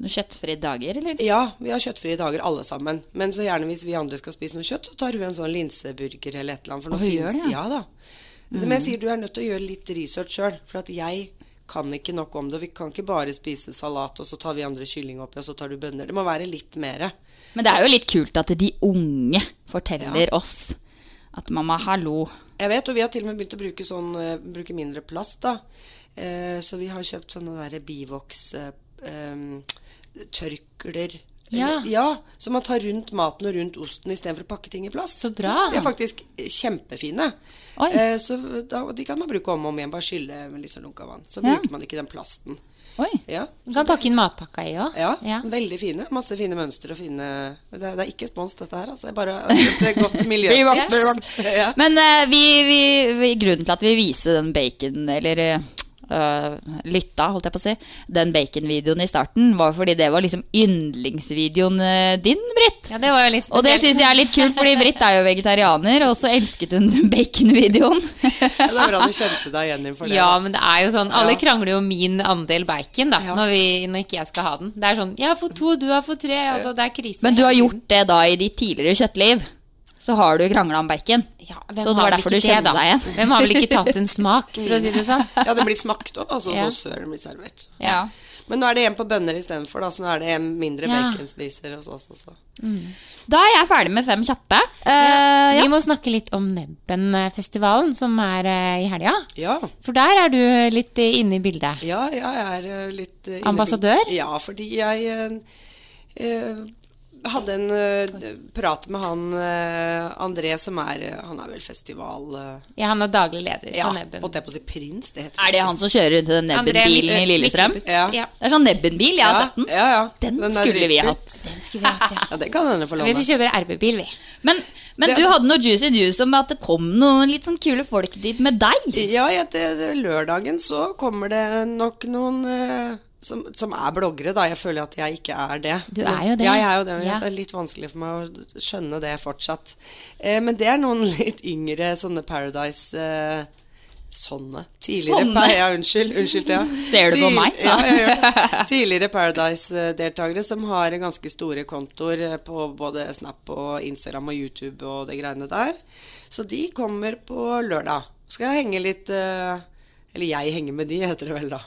S5: Kjøttfrie dager, eller?
S7: Ja, vi har kjøttfrie dager alle sammen. Men så gjerne hvis vi andre skal spise noe kjøtt, så tar hun en sånn linseburger eller et eller annet. For nå
S5: Å, hun
S7: finnes-
S5: gjør det, ja. Mm.
S7: ja. da. Som jeg sier, du er nødt til å gjøre litt research sjøl. For at jeg kan ikke nok om det. Vi kan ikke bare spise salat, og så tar vi andre kylling oppi, og så tar du bønner. Det må være litt mere.
S5: Men det er jo litt kult at de unge forteller oss at mamma, hallo.
S7: Jeg vet, og vi har til og med begynt å bruke, sånn, eh, bruke mindre plast, da. Eh, så vi har kjøpt sånne derre bivoks... Eh, em, tørklær.
S5: Ja.
S7: Eller- ja. Så man tar rundt maten og rundt osten istedenfor å pakke ting i plast. Så
S5: bra.
S7: De er faktisk eh, kjempefine.
S5: Oi.
S7: Eh, så da, og de kan man bruke om og om igjen. Bare skylle med litt sånn lunka vann. Så
S3: Ja.
S7: bruker man ikke den plasten.
S5: Oi.
S7: Ja.
S3: Du kan pakke inn matpakka i òg.
S7: Ja, veldig fine. Masse fine mønstre og fine Det er, det er ikke spons, dette her. Altså. Det er bare et godt miljø.
S5: Blir vakt, blir vakt.
S7: Ja.
S5: Men eh, vi, vi, vi, grunnen til at vi viser den bacon, eller eh, øh, lytta, holdt jeg på å si, den baconvideoen i starten, var fordi det var liksom yndlingsvideoen eh, din, Britt.
S3: Ja, det var jo litt
S5: Og det
S3: spesielt.
S5: syns jeg er litt kult, fordi Britt er jo vegetarianer, og så elsket hun den baconvideoen.
S7: Ja, det er bra du kjente deg igjen for det.
S3: Ja,
S7: da.
S3: men det er jo sånn Alle
S7: Ja.
S3: krangler jo om min andel bacon da, når, vi, når ikke jeg skal ha den. Det er sånn Jeg har fått to, du har fått tre. Altså, det er krise.
S5: Men du har gjort det da i ditt tidligere kjøttliv. Så har du krangla om bacon.
S3: Hvem
S5: så det
S3: har
S5: var
S3: vel
S5: derfor
S3: ikke
S5: du
S3: det,
S5: kjente
S3: da?
S5: deg igjen.
S3: Hvem har vel ikke tatt en smak, for å si det sånn?
S7: Ja, det blir smakt opp altså,
S3: Ja.
S7: hos oss før den blir servert.
S5: Ja.
S7: Men nå er det en på bønner istedenfor, da, så nå er det en mindre
S5: Ja.
S7: baconspiser hos oss også.
S5: Da er jeg ferdig med fem kjappe. Eh,
S3: Eh, Vi må snakke litt om Nebbenfestivalen, som er eh, i helga.
S7: Ja.
S3: For der er du litt eh, inne i bildet.
S7: Ja, jeg er eh, litt eh, inne-
S3: Ambassadør?
S7: Ja, fordi jeg eh, eh, hadde en eh, prat med han eh, André, som er eh, Han er vel festival... eh,
S3: Ja, han er daglig leder
S7: ja,
S3: for Nebben.
S7: holdt jeg på å si prins? Det heter
S5: Er det han som kjører rundt i den Nebben-bilen
S3: André,
S5: i Lillestrøm?
S3: Mikkelbust, ja. Ja.
S5: Det er sånn Nebben-bil. Jeg har
S3: Ja,
S5: sett den.
S7: Ja, ja.
S5: Den,
S7: Den er
S5: skulle vi
S7: dritkul.
S5: hatt.
S3: Den skulle vi hatt, ja.
S7: Ja, den kan hende få
S3: Vi
S7: låne.
S3: får kjøre RB-bil, vi.
S5: Men, men
S7: Det-
S5: du hadde noe juicy juice om at det kom noen litt sånn kule folk dit med deg.
S7: Ja, jeg, det, det- lørdagen så kommer det nok noen eh, som, som er bloggere, da. Jeg føler at jeg ikke er det.
S3: Du er
S7: Men-
S3: jo det.
S7: Ja, jeg er jo det. men
S3: Ja.
S7: Det er litt vanskelig for meg å skjønne det fortsatt. Eh, men det er noen litt yngre sånne Paradise eh, Sånne. Tidligere
S5: Sånne.
S7: Pa- Ja, unnskyld. unnskyld ja.
S5: Ser du på
S7: Tid-
S5: meg, da?
S7: Ja, ja, ja. Tidligere Paradise-deltakere som har ganske store kontoer eh, på både Snap og Instagram og YouTube og de greiene der. Så de kommer på lørdag. Skal jeg henge litt eh, Eller jeg henger med de, heter det vel da.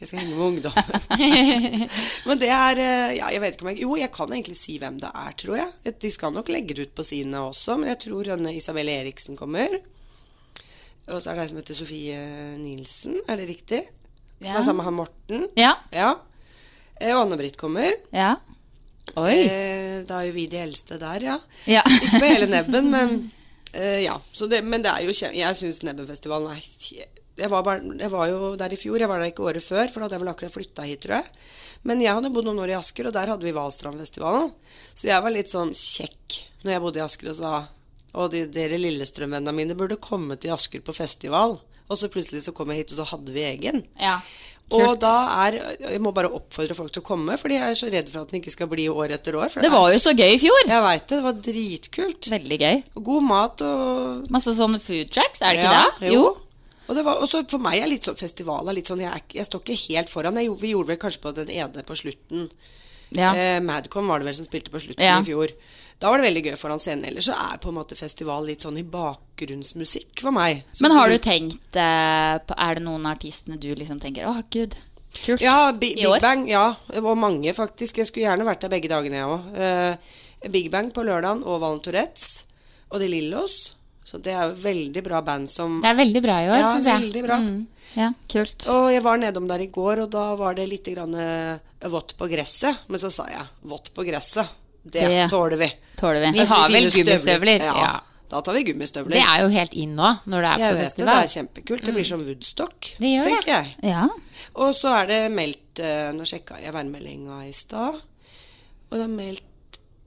S7: Jeg skal henge med ungdommen. Men det er eh, ja, jeg vet ikke om jeg, Jo, jeg kan egentlig si hvem det er, tror jeg. De skal nok legge det ut på sine også, men jeg tror denne Isabel Eriksen kommer. Og så er det ei som heter Sofie Nielsen, er det riktig? Som
S5: Ja.
S7: er sammen med han Morten.
S5: Ja.
S7: Eh, Og Anne-Britt kommer.
S5: Ja. Oi.
S7: Eh, Da er jo vi de eldste der, ja.
S5: Ja.
S7: Ikke på hele Nebben, men eh, ja. Så det, men det er jo kjem... Jeg syns Nebbenfestivalen er he- jeg var, bare, jeg var jo der i fjor, jeg var der ikke året før, for da hadde jeg vel akkurat flytta hit, tror jeg. Men jeg hadde bodd noen år i Asker, og der hadde vi Valstrandfestivalen. Så jeg var litt sånn kjekk når jeg bodde i Asker og sa Og de, dere Lillestrøm-vennene mine burde komme til Asker på festival. Og så plutselig så kom jeg hit, og så hadde vi egen.
S5: Ja.
S7: Og
S5: Kult.
S7: da er Jeg må bare oppfordre folk til å komme, fordi jeg er så redd for at den ikke skal bli år etter år. for
S5: Det var
S7: er
S5: jo så gøy i fjor.
S7: Jeg veit det. Det var dritkult.
S5: Veldig gøy.
S7: Og God mat og
S5: Masse sånne food tracks, er det ikke
S7: Ja,
S5: det?
S7: Jo. Og det var, også for meg er litt sånn festival er litt sånn Jeg, er, ikke- jeg står ikke helt foran. Jeg, gjorde- vi gjorde vel kanskje på den ene på slutten.
S5: Ja.
S7: Eh, Madcon var det vel som spilte på slutten
S5: Ja.
S7: i fjor. Da var det veldig gøy foran scenen. Ellers så er på en måte festival litt sånn i bakgrunnsmusikk for meg. Så
S5: Men har du
S7: bruk-
S5: tenkt eh, på Er det noen av artistene du liksom tenker Å, gud, kult.
S7: Ja, Bi
S5: I år?
S7: Big Bang. Ja, og mange faktisk. Jeg skulle gjerne vært der begge dagene, jeg òg. Big Bang på lørdagen og Valen Tourettes og De Lillos. Så det er jo veldig bra band som
S3: Det er veldig bra i år,
S7: Ja,
S3: syns jeg.
S7: veldig bra.
S3: Mm.
S5: Ja, kult.
S7: Og jeg var nedom der i går, og da var det litt grann, eh, vått på gresset. Men så sa jeg 'vått på gresset'. Det,
S5: Det
S7: tåler vi.
S5: tåler vi.
S3: Vi
S7: Altså,
S3: har
S7: fine
S3: vel gummistøvler, ja.
S7: Ja. Da tar vi gummistøvler.
S3: Det er jo helt inn nå, når det er
S7: jeg
S3: på
S7: vet det, det
S3: festival.
S7: er kjempekult. Det blir som Woodstock,
S3: Det gjør det.
S7: tenker jeg.
S5: Ja.
S7: Og så er det meldt eh, Nå sjekka jeg værmeldinga i stad, og det er meldt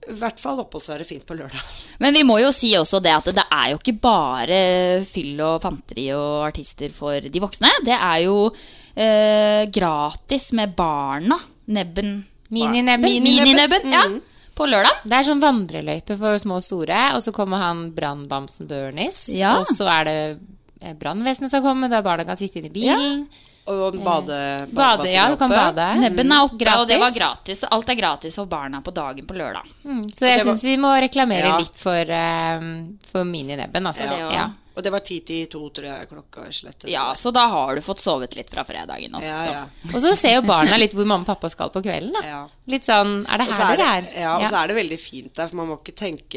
S7: I hvert fall opphold så er det fint på lørdag.
S5: Men vi må jo si også det at det er jo ikke bare fyll og fanteri og artister for de voksne. Det er jo eh, gratis med barna. Nebben.
S3: Mininebben.
S5: Mininebben, ja.
S7: Mm.
S5: På lørdag.
S3: Det er sånn vandreløype for små og store, og så kommer han brannbamsen Børnis.
S5: Ja.
S3: Og så er det eh, brannvesenet som kommer, da barna kan sitte inne i
S7: Mm.
S3: bilen.
S7: Og bade,
S3: Bade, ja, du kan bade. Mm.
S5: Nebben er oppe,
S3: Gratis.
S5: og det var gratis. Alt er gratis for barna på dagen på lørdag.
S3: Mm, så jeg
S5: Det var-
S3: syns vi må reklamere
S5: Ja.
S3: litt for, um, for mininebben, altså.
S5: Ja.
S3: Ja.
S7: Og det var ti til to, tror jeg, klokka slettet.
S5: Ja, så da har du fått sovet litt fra fredagen også.
S7: Ja, ja.
S3: Og så ser jo barna litt hvor mamma og pappa skal på kvelden, da. Litt sånn Er det
S7: Og
S3: her
S7: så er
S3: dere er?
S7: det- Ja, og så er det veldig fint der, for man må ikke tenke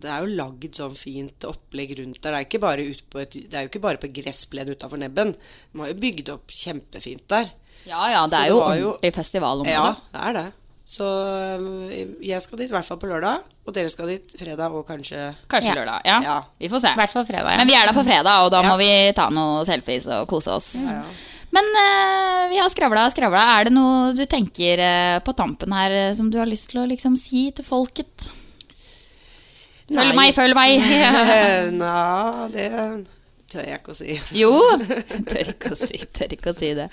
S7: Det er jo lagd sånn fint opplegg rundt der. Det er, ikke bare ut på et, det er jo ikke bare på gressplen utafor nebben. De har jo bygd opp kjempefint der.
S5: Ja, ja, det
S7: Så
S5: er jo
S7: var
S5: ordentlig festivalområde.
S7: Ja, det er det. Så øhm, jeg skal dit i hvert fall på lørdag, og dere skal dit fredag og kanskje
S5: Kanskje lørdag. Ja. Vi får se.
S3: hvert fall fredag. ja.
S5: Men vi er der på fredag, og da må vi ta noen selfies og kose oss. Men eh, vi har skravla og skravla. Er det noe du tenker eh, på tampen her eh, som du har lyst til å liksom si til folket? Følg meg, følg meg!
S7: Nei, det tør jeg ikke å si.
S5: jo! Tør ikke å si, tør ikke å si det.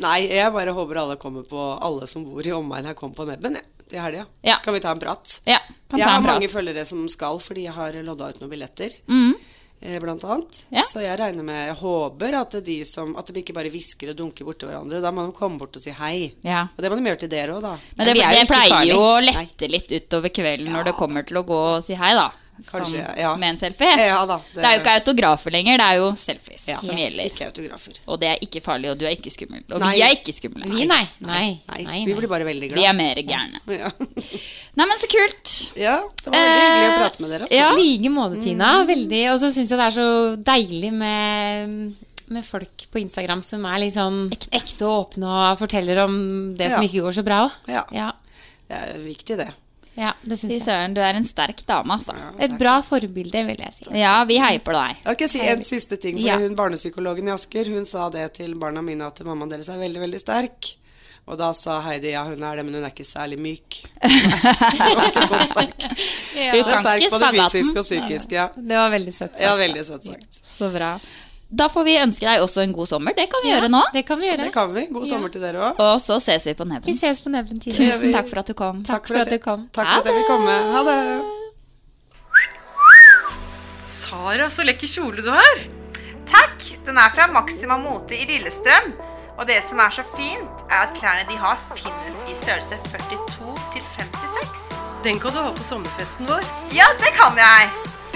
S7: Nei, jeg bare håper alle kommer på Alle som bor i omegnen her, kommer på Nebben ja, til helga. Så kan vi ta en prat.
S5: Ja, kan
S7: jeg
S5: ta
S7: har
S5: en prat.
S7: mange følgere som skal, fordi jeg har lodda ut noen billetter.
S5: Mhm.
S7: eh, Blant annet. Så jeg regner med Jeg håper at de som At de ikke bare hvisker og dunker borti hverandre. Da må de komme bort og si hei.
S5: Ja.
S7: Og det må de gjøre til dere òg, da.
S5: Men det, det pleier jo å lette litt utover kvelden når det kommer til å gå og si hei, da.
S7: Kanskje,
S5: Sånn,
S7: ja.
S5: Med en selfie.
S7: Ja da,
S5: det,
S7: det-
S5: er jo ikke autografer lenger, det er jo selfies
S7: Ja,
S5: som
S7: yes.
S5: gjelder.
S7: Ikke autografer.
S5: Og det er ikke farlig, og du er ikke skummel. Og
S7: Nei.
S5: vi er ikke skumle.
S3: Vi, nei. Nei.
S7: Nei,
S3: Nei,
S7: vi
S3: nei.
S7: blir bare veldig glad.
S5: Vi er mer gærne.
S7: Ja.
S5: Nei, men så kult.
S7: Ja, det var veldig hyggelig å prate med dere.
S3: Eh, Ja. I like måte, Tina. Veldig. Og så syns jeg det er så deilig med, med folk på Instagram som er litt sånn ekte og åpne og forteller om det som
S5: Ja.
S3: ikke går så bra òg.
S7: Ja.
S3: Ja.
S7: Det er viktig, det.
S3: ja, det
S5: Fy
S3: syns jeg.
S5: søren, du er en sterk dame, altså.
S3: Et bra forbilde, vil jeg si.
S5: Ja, vi heier på deg.
S7: Jeg kan si en siste ting, for
S5: Ja.
S7: hun Barnepsykologen i Asker hun sa det til barna mine at mammaen deres er veldig veldig sterk. Og da sa Heidi ja, hun er det, men hun er ikke særlig myk.
S5: Ja.
S7: Hun er sterk på det fysiske og psykiske. Ja,
S3: Det var veldig søtt sagt.
S7: ja veldig søtt sagt.
S5: Så bra. Da får vi ønske deg også en god sommer. Det kan vi
S3: Ja,
S5: gjøre nå.
S3: Det kan vi gjøre.
S7: Det kan vi. God sommer til dere òg.
S5: Og så ses vi på
S3: Vi
S5: Nebben.
S3: ses på nebben tidligere.
S5: Tusen takk for at du kom.
S7: Takk for at
S3: du kom.
S7: Takk for at jeg fikk komme. Ha det.
S2: Sara, så lekker kjole du har. Takk! Den er fra Maxima Mote i Lillestrøm. Og det som er så fint, er at klærne de har, finnes i størrelse 42 til 56.
S1: Den kan du ha på sommerfesten vår.
S2: Ja, det kan jeg!